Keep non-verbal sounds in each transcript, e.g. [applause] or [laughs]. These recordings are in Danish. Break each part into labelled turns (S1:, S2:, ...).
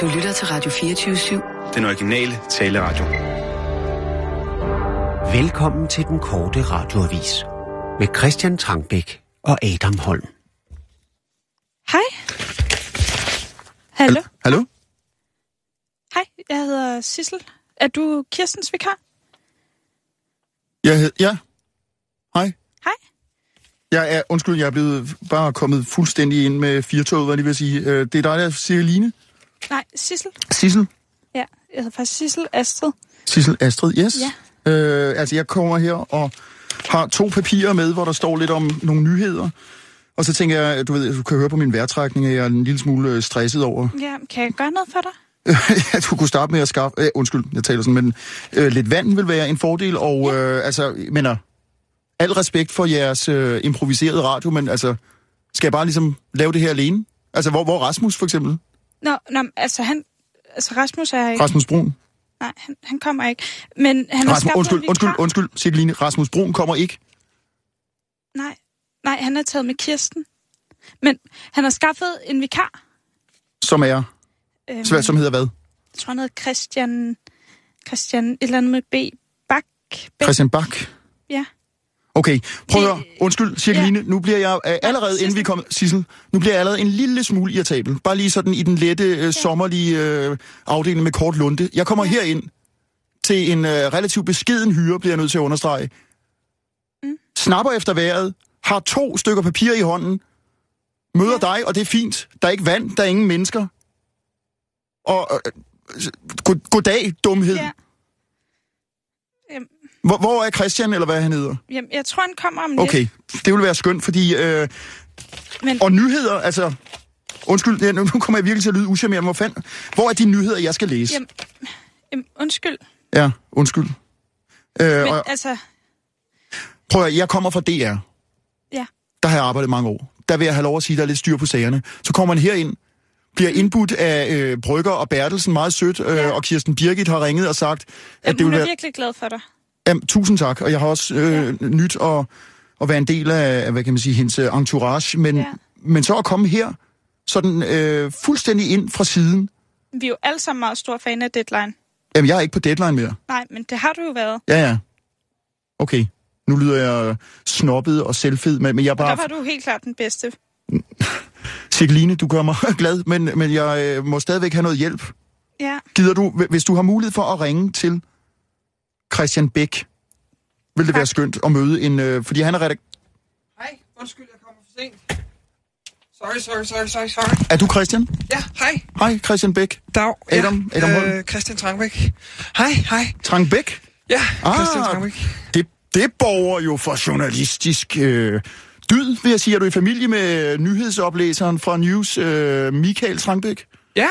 S1: Du lytter til Radio 24-7.
S2: Den originale taleradio.
S3: Velkommen til den korte radioavis med Christian Trangbæk og Adam Holm.
S4: Hej. Hallo.
S5: Hallo?
S4: Hej, jeg hedder Sissel. Er du Kirstens vikar?
S5: Jeg hed... Ja. Hej.
S4: Hej.
S5: Jeg er... Undskyld, jeg er blevet bare kommet fuldstændig ind med firetoget, hvad jeg lige vil sige. Øh, Det er dig, der siger Line.
S4: Nej, Sissel.
S5: Sissel.
S4: Ja, jeg hedder faktisk Sissel Astrid.
S5: Sissel Astrid, yes.
S4: Ja.
S5: Øh, altså, jeg kommer her og har to papirer med, hvor der står lidt om nogle nyheder. Og så tænker jeg, du ved, du kan høre på min vejrtrækning, at jeg er en lille smule øh, stresset over.
S4: Ja, kan jeg gøre noget for dig?
S5: [laughs] jeg skulle kunne starte med at skaffe... Øh, undskyld, jeg taler sådan, men øh, lidt vand vil være en fordel, og øh, altså, jeg mener, al respekt for jeres øh, improviserede radio, men altså, skal jeg bare ligesom lave det her alene? Altså, hvor, hvor Rasmus for eksempel?
S4: Nå, nå men altså han... Altså Rasmus er ikke...
S5: Rasmus Brun?
S4: Nej, han, han kommer ikke. Men han har
S5: Rasmus,
S4: skaffet
S5: undskyld,
S4: en vikar.
S5: undskyld, undskyld, Sitteline. Rasmus Brun kommer ikke.
S4: Nej, nej, han er taget med Kirsten. Men han har skaffet en vikar.
S5: som er,
S4: Øhm,
S5: som, som hedder hvad?
S4: Jeg tror, han hedder Christian... Christian et eller andet med B. Bak. Bak.
S5: Christian Bak.
S4: Ja.
S5: Okay, prøv at høre. Undskyld, Cirkeline. Ja. Nu bliver jeg øh, allerede, inden vi
S4: Sissel.
S5: kommer... Sissel, nu bliver jeg allerede en lille smule irritabel. Bare lige sådan i den lette, øh, sommerlige øh, afdeling med kort lunte. Jeg kommer herind til en øh, relativt beskeden hyre, bliver jeg nødt til at understrege. Mm. Snapper efter vejret, har to stykker papir i hånden, møder ja. dig, og det er fint. Der er ikke vand, der er ingen mennesker. Og øh, øh, god, goddag, dumhed.
S4: Ja. Øhm,
S5: Ja.
S4: Jamen,
S5: Hvor, hvor er Christian, eller hvad han hedder?
S4: jamen, jeg tror, han kommer om lidt.
S5: Okay, det ville være skønt, fordi... Øh,
S4: Men-
S5: men... Og nyheder, altså... Undskyld, ja, nu nu kommer jeg virkelig til at lyde uschammerende. Hvor, fanden, hvor er de nyheder, jeg skal læse?
S4: Jamen. Jamen, undskyld.
S5: Ja, undskyld. Øh,
S4: Men
S5: og,
S4: altså...
S5: prøv at, høre, jeg kommer fra DR.
S4: Ja.
S5: Der har jeg arbejdet mange år. Der vil jeg have lov at sige, der er lidt styr på sagerne. Så kommer man herind, bliver indbudt af øh, Brygger og Bertelsen, meget sødt, øh,
S4: Ja.
S5: og Kirsten Birgit har ringet og sagt, at
S4: Jamen,
S5: det
S4: hun
S5: vil
S4: er
S5: være...
S4: virkelig glad for dig.
S5: Jamen, tusind tak, og jeg har også øh, ja. nyt at, at være en del af, af, hvad kan man sige, hendes øh, entourage, men,
S4: Ja.
S5: ja. men så at komme her, sådan øh, fuldstændig ind fra siden,
S4: Vi er jo alle sammen meget store fan af Deadline.
S5: jamen jeg er ikke på deadline mere.
S4: Nej, men det har du jo været.
S5: Ja, ja. Okay, nu lyder jeg øh, snobbet og selvfed, men, men jeg er
S4: Der
S5: bare...
S4: var du helt klart den bedste.
S5: Cirkeline, du gør mig [laughs] glad, men, men jeg øh, må stadigvæk have noget hjælp.
S4: Ja,
S5: Gider du, hv- hvis du har mulighed for at ringe til Christian Bæk, vil det være skønt at møde en... Øh, fordi han er redak-
S6: Hej, undskyld, jeg kommer for sent. Sorry, sorry, sorry, sorry, sorry.
S5: Er du Christian?
S6: Ja, hej.
S5: Hej, Christian Bæk.
S6: Dag.
S5: Adam-
S6: ja, øh,
S5: Adam Holm.
S6: Christian Trangbæk. Hej, hej.
S5: Trang Bæk?
S6: Ja,
S5: Ah.
S6: Christian Trangbæk.
S5: Det, det borger jo for journalistisk øh, dyd, vil jeg sige. Er du i familie med nyhedsoplæseren fra News, øh, Michael Trangbæk?
S6: Ja.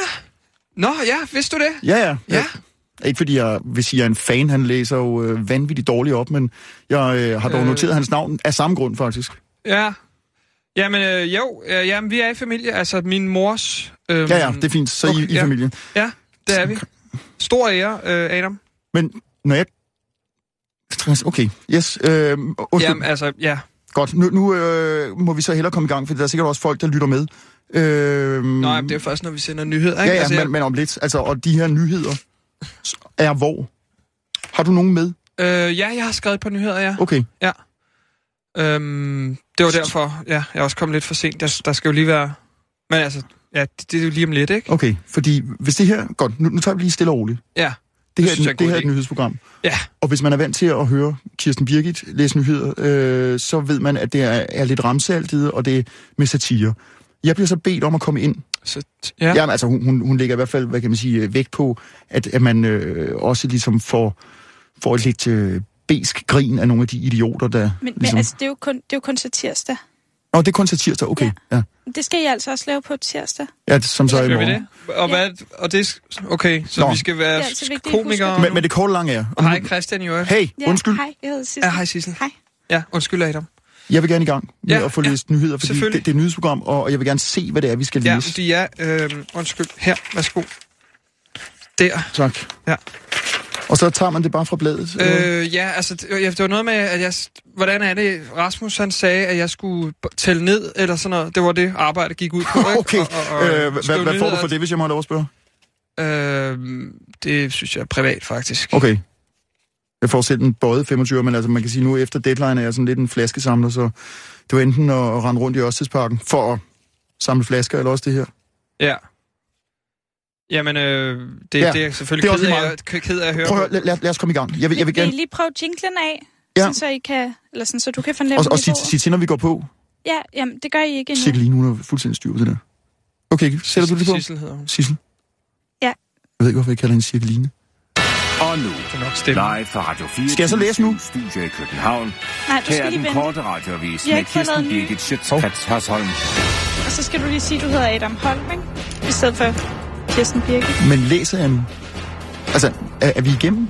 S6: Nå, ja, vidste du det?
S5: Ja, ja.
S6: Ja.
S5: Ikke fordi jeg vil sige, at jeg er en fan, han læser jo øh, vanvittigt dårligt op, men jeg øh, har dog
S6: Øh.
S5: noteret hans navn af samme grund, faktisk.
S6: Ja. Jamen, øh, jo, øh, jamen, vi er i familie. Altså, min mors... Øh,
S5: Ja, ja, det er fint. Så okay, I,
S6: okay,
S5: i
S6: ja.
S5: familie.
S6: Ja, det er vi. Stor ære, øh, Adam.
S5: Men når jeg... Okay, yes. Øh, undskyld.
S6: Jamen, altså, ja.
S5: Godt. Nu, nu øh, må vi så hellere komme i gang, for der er sikkert også folk, der lytter med. Øh,
S6: Nå, jamen, det er jo først, når vi sender nyheder,
S5: Ja,
S6: ikke?
S5: ja,
S6: altså,
S5: men, men om lidt. Altså, og de her nyheder er hvor? Har du nogen med?
S6: jeg, øh, ja, jeg har skrevet på nyheder, ja.
S5: Okay.
S6: Ja. Øhm, det var derfor, ja, jeg er også kommet lidt for sent. Der, der skal jo lige være... Men altså, ja, det, det er jo lige om lidt, ikke?
S5: Okay, fordi hvis det her... Godt, nu, nu tager vi lige stille og roligt.
S6: Ja.
S5: Det her,
S6: synes
S5: det,
S6: jeg er en
S5: det
S6: god
S5: her er et
S6: idé.
S5: nyhedsprogram.
S6: Ja.
S5: Og hvis man er vant til at høre Kirsten Birgit læse nyheder, øh, så ved man, at det er, er lidt ramsaltet, og det er med satire. Jeg bliver så bedt om at komme ind.
S6: Så, t- ja.
S5: Ja. Jamen, altså, hun, hun, hun lægger i hvert fald, hvad kan man sige, øh, vægt på, at, at man øh, også ligesom får, får et lidt øh, besk grin af nogle af de idioter, der
S4: men, men
S5: ligesom...
S4: altså, det er jo kun, det er jo kun til tirsdag.
S5: Nå, det er kun satire, så okay. Ja, ja.
S4: Det skal I altså også lave på tirsdag.
S5: ja det, som så er i
S6: Gør vi
S5: morgen.
S6: det? Og, hvad, og det... er- Okay, så
S5: Nå.
S6: vi skal
S4: Det
S6: være
S4: er altså vigtigt, at
S6: komikere
S4: huske.
S6: nu.
S5: Men, men det korte lange er...
S6: Og hej Christian i øvrigt.
S5: Hey, ja, undskyld,
S4: Hej, jeg hedder Sissel.
S6: Ja, hej Sissel.
S4: Hej.
S6: Ja, undskyld Adam.
S5: jeg vil gerne i gang med
S6: Ja,
S5: ja, at få
S6: ja,
S5: læst nyheder, fordi det,
S6: selvfølgelig.
S5: det er et nyhedsprogram, og og jeg vil gerne se, hvad det er, vi skal
S6: Ja,
S5: læse.
S6: fordi jeg... Øh, undskyld. Her, værsgo. Der.
S5: Tak.
S6: Ja.
S5: Og så tager man det bare fra bladet. Øh,
S6: Øh, ja, altså, det, ja, det var noget med, at jeg... Hvordan er det, Rasmus han sagde, at jeg skulle b- tælle ned, eller sådan noget. Det var det arbejde, gik ud på,
S5: [laughs]
S6: ikke?
S5: okay,
S6: Og, og, og,
S5: øh, hvad,
S6: skrive
S5: hvad får du
S6: nyheder.
S5: for det, hvis jeg må have lov at spørge?
S6: Øh, det synes jeg er privat, faktisk.
S5: Okay. Jeg får selv en både 25, men altså man kan sige, nu efter deadline er jeg sådan lidt en flaskesamler, så det var enten at, at rende rundt i Ørstedsparken for at samle flasker, eller også det her.
S6: Ja. Jamen, øh, det,
S5: Ja,
S6: ja, det er jeg
S5: det
S6: selvfølgelig
S5: er
S6: det
S5: også lige
S6: er ked, af, at- ked af at høre.
S5: Prøv at høre,
S6: på.
S5: lad, lad, lad os komme i gang. Jeg vil, jeg vil
S4: Vil I
S5: gerne...
S4: lige prøve jinglen af? Ja.
S5: Ja.
S4: Sådan, så, I kan, eller sådan, så du kan fornemme
S5: Og, og
S4: mit
S5: sig,
S4: ord?
S5: sig til, når vi går på.
S4: Ja, jamen, det gør I ikke endnu.
S5: Sikke lige nu, hun er fuldstændig styr på det der. Okay, sætter du det på?
S6: Sissel hedder hun.
S5: Sissel?
S4: Ja.
S5: Jeg ved ikke, hvorfor jeg kalder hende Cirkeline.
S2: Og nu,
S6: Det er nok stemme.
S2: live fra Radio 4.
S5: Skal jeg så læse nu?
S2: Studio i København.
S4: Nej, du
S2: Her er
S4: skal lige
S2: den
S4: vente.
S2: korte radioavis
S4: Vi har
S2: med
S4: ikke fået
S2: Kirsten
S4: lavet nye.
S2: Birgit Schøtzgrads Hasholm.
S4: Og så skal du lige sige, at du hedder Adam Holm, ikke? I stedet for Kirsten Birke.
S5: Men læser jeg nu? Altså, er, er vi igennem?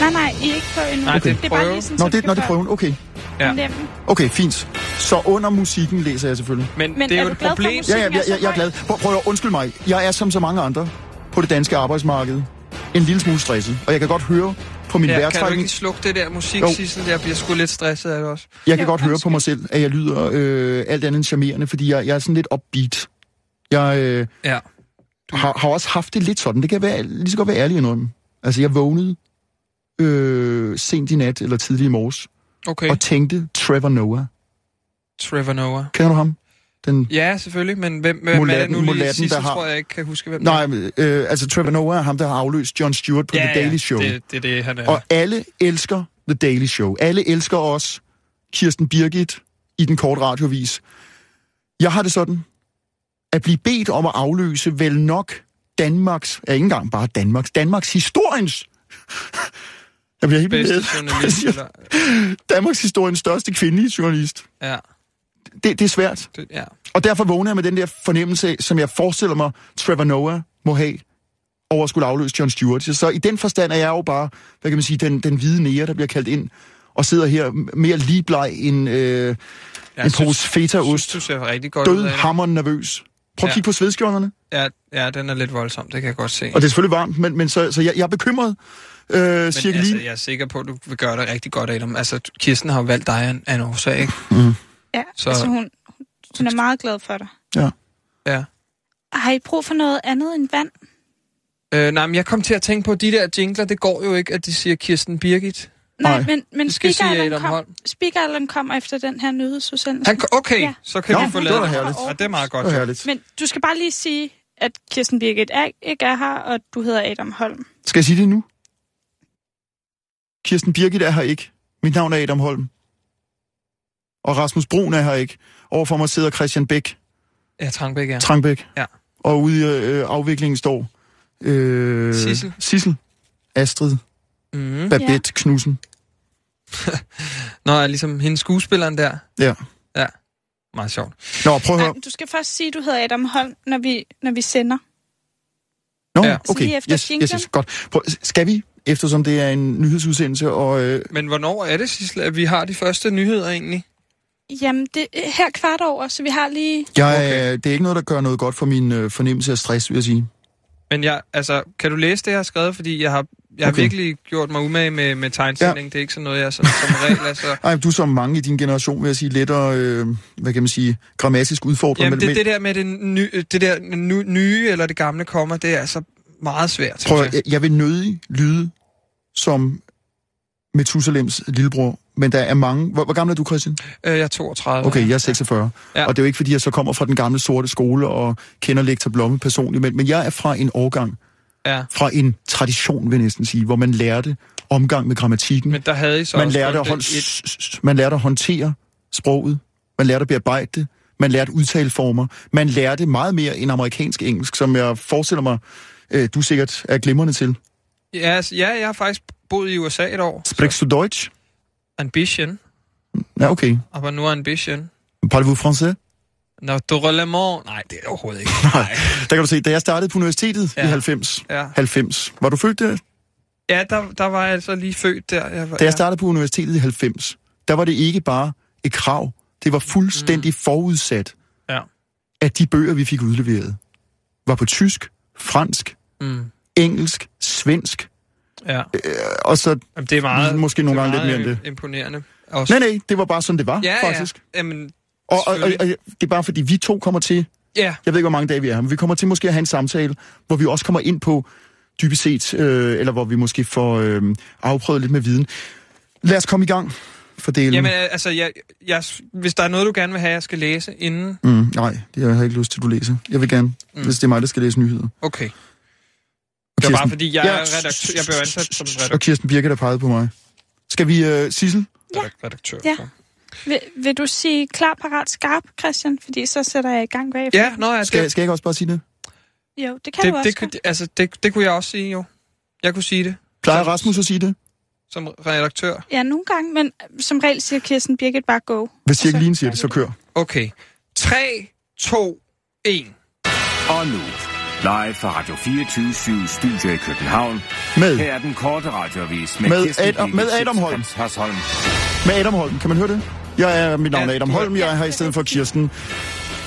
S4: Nej, nej, I er ikke på endnu. Altså,
S6: Nej, det er
S4: det er bare
S6: prøve.
S4: lige sådan, så
S5: Nå, det,
S4: du
S5: nå, det
S4: kan
S5: er
S4: få
S5: prøven. Okay.
S6: Ja.
S4: fornemme.
S5: Okay, fint. Så under musikken læser jeg selvfølgelig.
S6: Men,
S4: Men
S6: det er
S4: er
S6: jo
S4: du
S6: et
S4: glad for
S6: problem.
S4: musik?
S5: Ja, ja, ja, ja, jeg er glad. Prøv, prøv at undskyld mig. Jeg er som så mange andre på det danske arbejdsmarked en lille smule stresset. Og jeg kan godt høre på min ja,
S6: Ja, kan du
S5: vejrtrækning,
S6: ikke slukke det der musik,
S5: Jo.
S6: Sissel? Jeg bliver sgu lidt stresset af det også.
S5: jeg kan
S4: Jo,
S5: godt høre på mig selv, at jeg lyder øh, alt andet end charmerende, fordi jeg, jeg er sådan lidt upbeat. Jeg øh,
S6: Ja.
S5: har, har også haft det lidt sådan. Det kan jeg være, lige så godt være ærlig indrømme. Altså, jeg vågnede øh, sent i nat eller tidlig i morges
S6: Okay.
S5: og tænkte Trevor Noah.
S6: Trevor Noah.
S5: Kender du ham? Den
S6: Ja, selvfølgelig, men hvem, hvem er det
S5: Mulatten-
S6: nu lige
S5: mulatten,
S6: sidst,
S5: der har-
S6: tror jeg ikke kan huske, hvem
S5: Nej, men, øh, altså Trevor Noah er ham, der har afløst Jon Stewart på
S6: det er.
S5: ja, The Daily Show.
S6: Ja, det, det er det, han er.
S5: Og alle elsker The Daily Show. Alle elsker også Kirsten Birgit i den korte radiovis. Jeg har det sådan, at blive bedt om at afløse vel nok Danmarks, ja, ikke engang bare Danmarks, Danmarks historiens, [laughs] jeg bliver helt
S6: bedste
S5: bevæget. [laughs]
S6: journalist. Eller,
S5: Danmarks historiens største kvindelige journalist.
S6: ja,
S5: Det, det er svært.
S6: det, ja.
S5: Og derfor vågner jeg med den der fornemmelse, som jeg forestiller mig, Trevor Noah må have over at skulle afløse John Stewart. Så i den forstand er jeg jo bare, hvad kan man sige, den, den hvide nære, der bliver kaldt ind, og sidder her m- mere ligebleg end øh,
S6: Jeg
S5: en pose
S6: synes,
S5: fetaost.
S6: du ser rigtig godt ud
S5: Død,
S6: af det.
S5: hammer nervøs. Prøv at
S6: Ja.
S5: kigge på svedskjorterne.
S6: Ja, ja, den er lidt voldsom, det kan jeg godt se.
S5: Og det er selvfølgelig varmt, men, men så, så jeg, jeg er bekymret. Øh,
S6: men
S5: cirka
S6: altså,
S5: lige.
S6: jeg er sikker på, at du vil gøre det rigtig godt, Adam. Altså, du- Kirsten har jo valgt dig af en, af en årsag, ikke?
S4: Ja,
S6: Så-
S4: så... altså hun, hun er meget glad for dig.
S6: Ja.
S4: Har I brug for noget andet end vand?
S6: Øh, nej, men jeg kom til at tænke på, at de der jingler, det går jo ikke, at de siger Kirsten Birgit.
S4: Nej,
S5: Nej.
S4: men, men
S6: Det skal sige
S4: Speaker
S6: Adam
S4: kom,
S6: Holm.
S4: Speaker Allen kommer efter den her nyhedsudsendelse.
S6: Han, ko- okay,
S4: Ja.
S6: ja. så kan
S5: Nå,
S6: Nå, vi få
S5: det
S6: lavet
S5: var
S6: det.
S5: herligt.
S6: Ja, det er meget godt.
S5: Det er herligt.
S4: Men du skal bare lige sige, at Kirsten Birgit er, ikke er her, og du hedder Adam Holm.
S5: Skal jeg sige det nu? Kirsten Birgit er her ikke. Mit navn er Adam Holm. Og Rasmus Brun er her ikke. Overfor mig sidder Christian Bæk.
S6: Ja, Trangbæk, ja.
S5: Trangbæk.
S6: Ja.
S5: Og ude i øh, afviklingen står... Øh,
S6: Sissel.
S5: Sissel. Astrid.
S6: Mm.
S5: Babette ja. Knudsen.
S6: Nå, er ligesom hende skuespilleren der.
S5: Ja.
S6: Ja, meget sjovt.
S5: Nå, prøv at
S4: Nej,
S5: høre.
S4: men du skal først sige, at du hedder Adam Holm, når vi, når vi sender.
S5: Nå,
S6: Ja.
S4: Så lige
S5: okay.
S4: efter
S5: yes, yes, yes,
S4: jinglen.
S5: godt. Prøv, skal vi, eftersom det er en nyhedsudsendelse, og... Øh,
S6: Men hvornår er det, Sissel, at vi har de første nyheder egentlig?
S4: Jamen, det er her kvart over, så vi har lige...
S5: jeg,
S6: Okay.
S5: okay. det er ikke noget, der gør noget godt for min øh, fornemmelse af stress, vil jeg sige.
S6: Men jeg, altså, kan du læse det, jeg har skrevet? Fordi jeg har, jeg har
S5: Okay.
S6: okay. virkelig gjort mig umage med, med tegnstilling. Ja. Det er ikke sådan noget, jeg sådan, som regel
S5: [laughs]
S6: er så...
S5: Ej, du er som mange i din generation, vil jeg sige, lettere, øh, hvad kan man sige, grammatisk udfordret.
S6: Jamen,
S5: men-
S6: det, det der med det, ny, det der nu, nye eller det gamle kommer, det er altså meget svært.
S5: Prøv,
S6: synes
S5: at- jeg, jeg vil nødig lyde som Methusalems lillebror, men der er mange... Hvor, hvor gammel er du, Christian?
S6: jeg. Øh, jeg er 32.
S5: Okay, jeg er 46. Ja.
S6: Ja.
S5: Og det er jo ikke, fordi jeg så kommer fra den gamle sorte skole og kender Lektor Blomme personligt, men, men jeg er fra en årgang,
S6: Ja.
S5: fra en tradition, vil jeg næsten sige, hvor man lærte omgang med grammatikken.
S6: Men der havde I så
S5: man,
S6: også
S5: lærte at
S6: kun
S5: holde,
S6: den et-
S5: s- s- s- man lærte at håndtere sproget, man lærte at bearbejde det, man lærte udtaleformer, man lærte meget mere end amerikansk engelsk, som jeg forestiller mig, øh, du sikkert er glimrende til.
S6: Ja, altså, ja, jeg har faktisk boet i USA et år. Så
S5: Sprichst du Deutsch?
S6: ambition.
S5: Ja, okay.
S6: Aber nur ambition.
S5: Parlez-vous français?
S6: Naturellement. Nej, det er det
S5: [laughs]
S6: overhovedet ikke.
S5: Nej. Der kan du se, da jeg startede på universitetet ja. i
S6: Ja.
S5: 90,
S6: Ja,
S5: 90, var du født der?
S6: ja der, der var jeg altså lige født der. Jeg var,
S5: Da jeg
S6: ja.
S5: startede på universitetet i 90, der var det ikke bare et krav. Det var fuldstændig mm. forudsat,
S6: Ja.
S5: at de bøger, vi fik udleveret, var på tysk, fransk,
S6: Mm,
S5: engelsk, svensk,
S6: ja.
S5: og så...
S6: Jamen, det er meget...
S5: Måske nogle
S6: det er
S5: gange lidt
S6: meget
S5: mere end
S6: imponerende. Også.
S5: Nej, nej, det var bare sådan, det var,
S6: ja,
S5: faktisk.
S6: Ja. Jamen,
S5: Og, og, og, og
S6: selvfølgelig.
S5: det er bare fordi, vi to kommer til
S6: Ja,
S5: Jeg ved ikke, hvor mange dage vi er her, men vi kommer til måske at have en samtale, hvor vi også kommer ind på dybest set, øh, eller hvor vi måske får øh, afprøvet lidt med viden. Lad os komme i gang for delen.
S6: jamen øh, altså, jeg, jeg, hvis der er noget, du gerne vil have, jeg skal læse inden...
S5: Mm, nej, det har jeg ikke lyst til, at du læser. Jeg vil gerne, mm. hvis det er mig, der skal læse nyheder.
S6: Okay.
S5: Og
S6: Det var bare
S5: Kirsten-
S6: fordi, jeg
S5: Ja,
S6: er redaktør. Jeg blev ansat som
S5: Og Kirsten Birke, der pegede på mig. Skal vi, øh, Sissel?
S6: redaktør. redaktør.
S4: Ja.
S6: så.
S4: Vil, vil du sige klar, parat, skarp, Christian? Fordi så sætter jeg i gang bagefter.
S6: Ja, nå ja,
S5: Skal,
S6: det,
S5: skal jeg ikke også bare sige det?
S4: Jo, det kan
S6: det,
S4: du også.
S6: det, kunne- altså, det, det kunne jeg også sige, jo. Jeg kunne sige det
S5: Plejer Rasmus at sige det?
S6: som redaktør.
S4: Ja, nogle gange, men øh, som regel siger Kirsten Birgit bare go.
S5: Hvis jeg ikke
S4: Og så-
S5: lige siger det, så kør.
S6: Okay. 3, 2, 1.
S2: Og nu. Live fra Radio 24 Studio i København.
S5: Med,
S2: Her er den korte radiovis
S5: Med
S2: Kirsten
S5: Adam-
S2: Birgit
S5: med Adam Holm.
S2: Schøtz-Krets Hasholm.
S5: med Adam Holm. Kan man høre det? Jeg er, mit navn er
S6: Ja,
S5: Adam
S6: du er-
S5: Holm. Jeg er her i stedet for Kirsten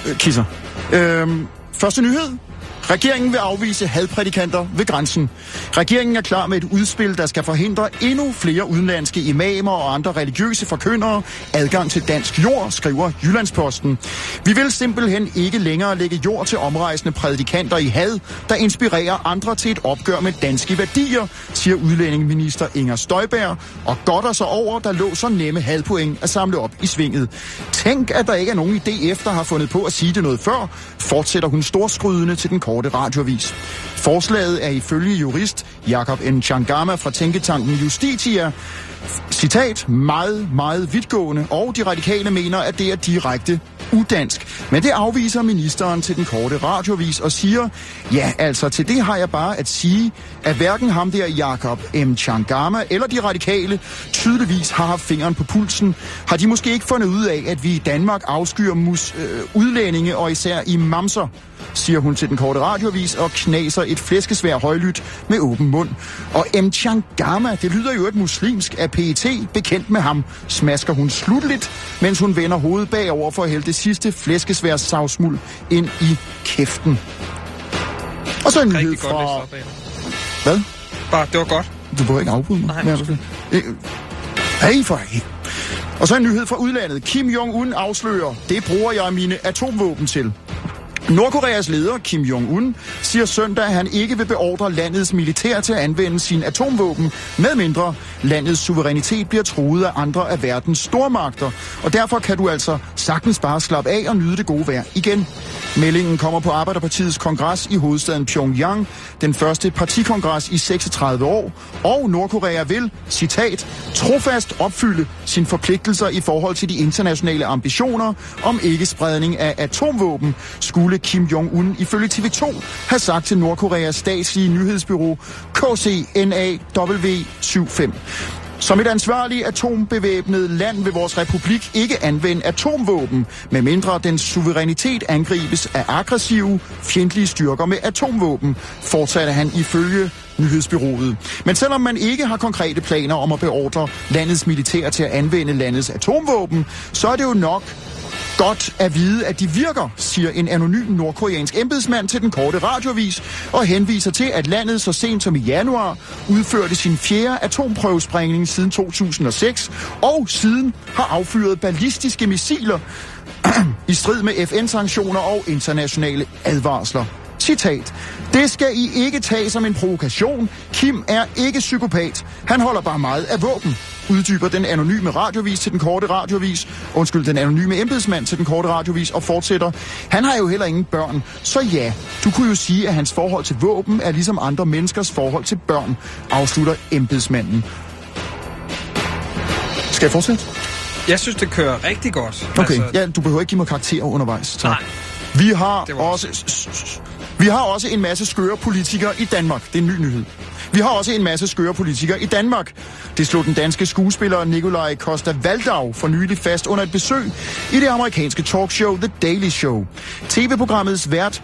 S5: øh, Kisser. Øhm, første nyhed. Regeringen vil afvise hadprædikanter ved grænsen. Regeringen er klar med et udspil, der skal forhindre endnu flere udenlandske imamer og andre religiøse forkyndere adgang til dansk jord, skriver Jyllandsposten. Vi vil simpelthen ikke længere lægge jord til omrejsende prædikanter i had, der inspirerer andre til et opgør med danske værdier, siger udlændingeminister Inger Støjberg, og godter sig over, der lå så nemme hadpoint at samle op i svinget. Tænk, at der ikke er nogen i DF, der har fundet på at sige det noget før, fortsætter hun storskrydende til den korte radiovis. Forslaget er ifølge jurist Jakob N. Changama fra Tænketanken Justitia citat, meget, meget vidtgående, og de radikale mener, at det er direkte udansk. Men det afviser ministeren til den korte radiovis og siger, ja, altså til det har jeg bare at sige, at hverken ham der Jakob M. Changama eller de radikale tydeligvis har haft fingeren på pulsen. Har de måske ikke fundet ud af, at vi i Danmark afskyer mus, øh, udlændinge og især imamser, siger hun til den korte radiovis og knaser et flæskesvær højlydt med åben mund. Og M. Changama, det lyder jo et muslimsk af PET, bekendt med ham, smasker hun slutligt, mens hun vender hovedet bagover for at hælde det sidste flæskesvær savsmuld ind i kæften. Og så en nyhed
S6: Rigtig godt læst
S5: fra...
S6: op, Adam.
S5: Hvad?
S6: Bare, det var godt.
S5: Du behøver ikke afbryde mig.
S6: Nej,
S5: Men-
S6: undskyld.
S5: Øh, Hey, for ikke. Og så en nyhed fra udlandet. Kim Jong-un afslører, det bruger jeg mine atomvåben til. Nordkoreas leder, Kim Jong-un, siger søndag, at han ikke vil beordre landets militær til at anvende sine atomvåben, medmindre landets suverænitet bliver truet af andre af verdens stormagter. Og derfor kan du altså sagtens bare slappe af og nyde det gode vejr igen. Meldingen kommer på Arbejderpartiets kongres i hovedstaden Pyongyang, den første partikongres i 36 år, og Nordkorea vil, citat, trofast opfylde sine forpligtelser i forhold til de internationale ambitioner om ikke-spredning af atomvåben, skulle Kim Jong-un ifølge TV2 have sagt til Nordkoreas statslige nyhedsbyrå KCNAW75. Som et ansvarligt atombevæbnet land vil vores republik ikke anvende atomvåben, medmindre dens suverænitet angribes af aggressive, fjendtlige styrker med atomvåben, fortsatte han ifølge nyhedsbyrået. Men selvom man ikke har konkrete planer om at beordre landets militær til at anvende landets atomvåben, så er det jo nok Godt at vide, at de virker, siger en anonym nordkoreansk embedsmand til den korte radiovis, og henviser til, at landet så sent som i januar udførte sin fjerde atomprøvesprængning siden 2006, og siden har affyret ballistiske missiler i strid med FN-sanktioner og internationale advarsler. Citat. Det skal I ikke tage som en provokation. Kim er ikke psykopat. Han holder bare meget af våben. Uddyber den anonyme radiovis til den korte radiovis. Undskyld, den anonyme embedsmand til den korte radiovis og fortsætter. Han har jo heller ingen børn. Så ja, du kunne jo sige, at hans forhold til våben er ligesom andre menneskers forhold til børn, afslutter embedsmanden. Skal jeg fortsætte?
S6: Jeg synes, det kører rigtig godt.
S5: Okay, altså... ja, du behøver ikke give mig karakterer undervejs. Tak.
S6: Nej.
S5: Vi har
S6: Det var-
S5: også... Vi har også en masse skøre politikere i Danmark. Det er en ny nyhed. Vi har også en masse skøre politikere i Danmark. Det slog den danske skuespiller Nikolaj Costa Valdau for nylig fast under et besøg i det amerikanske talkshow The Daily Show. TV-programmets vært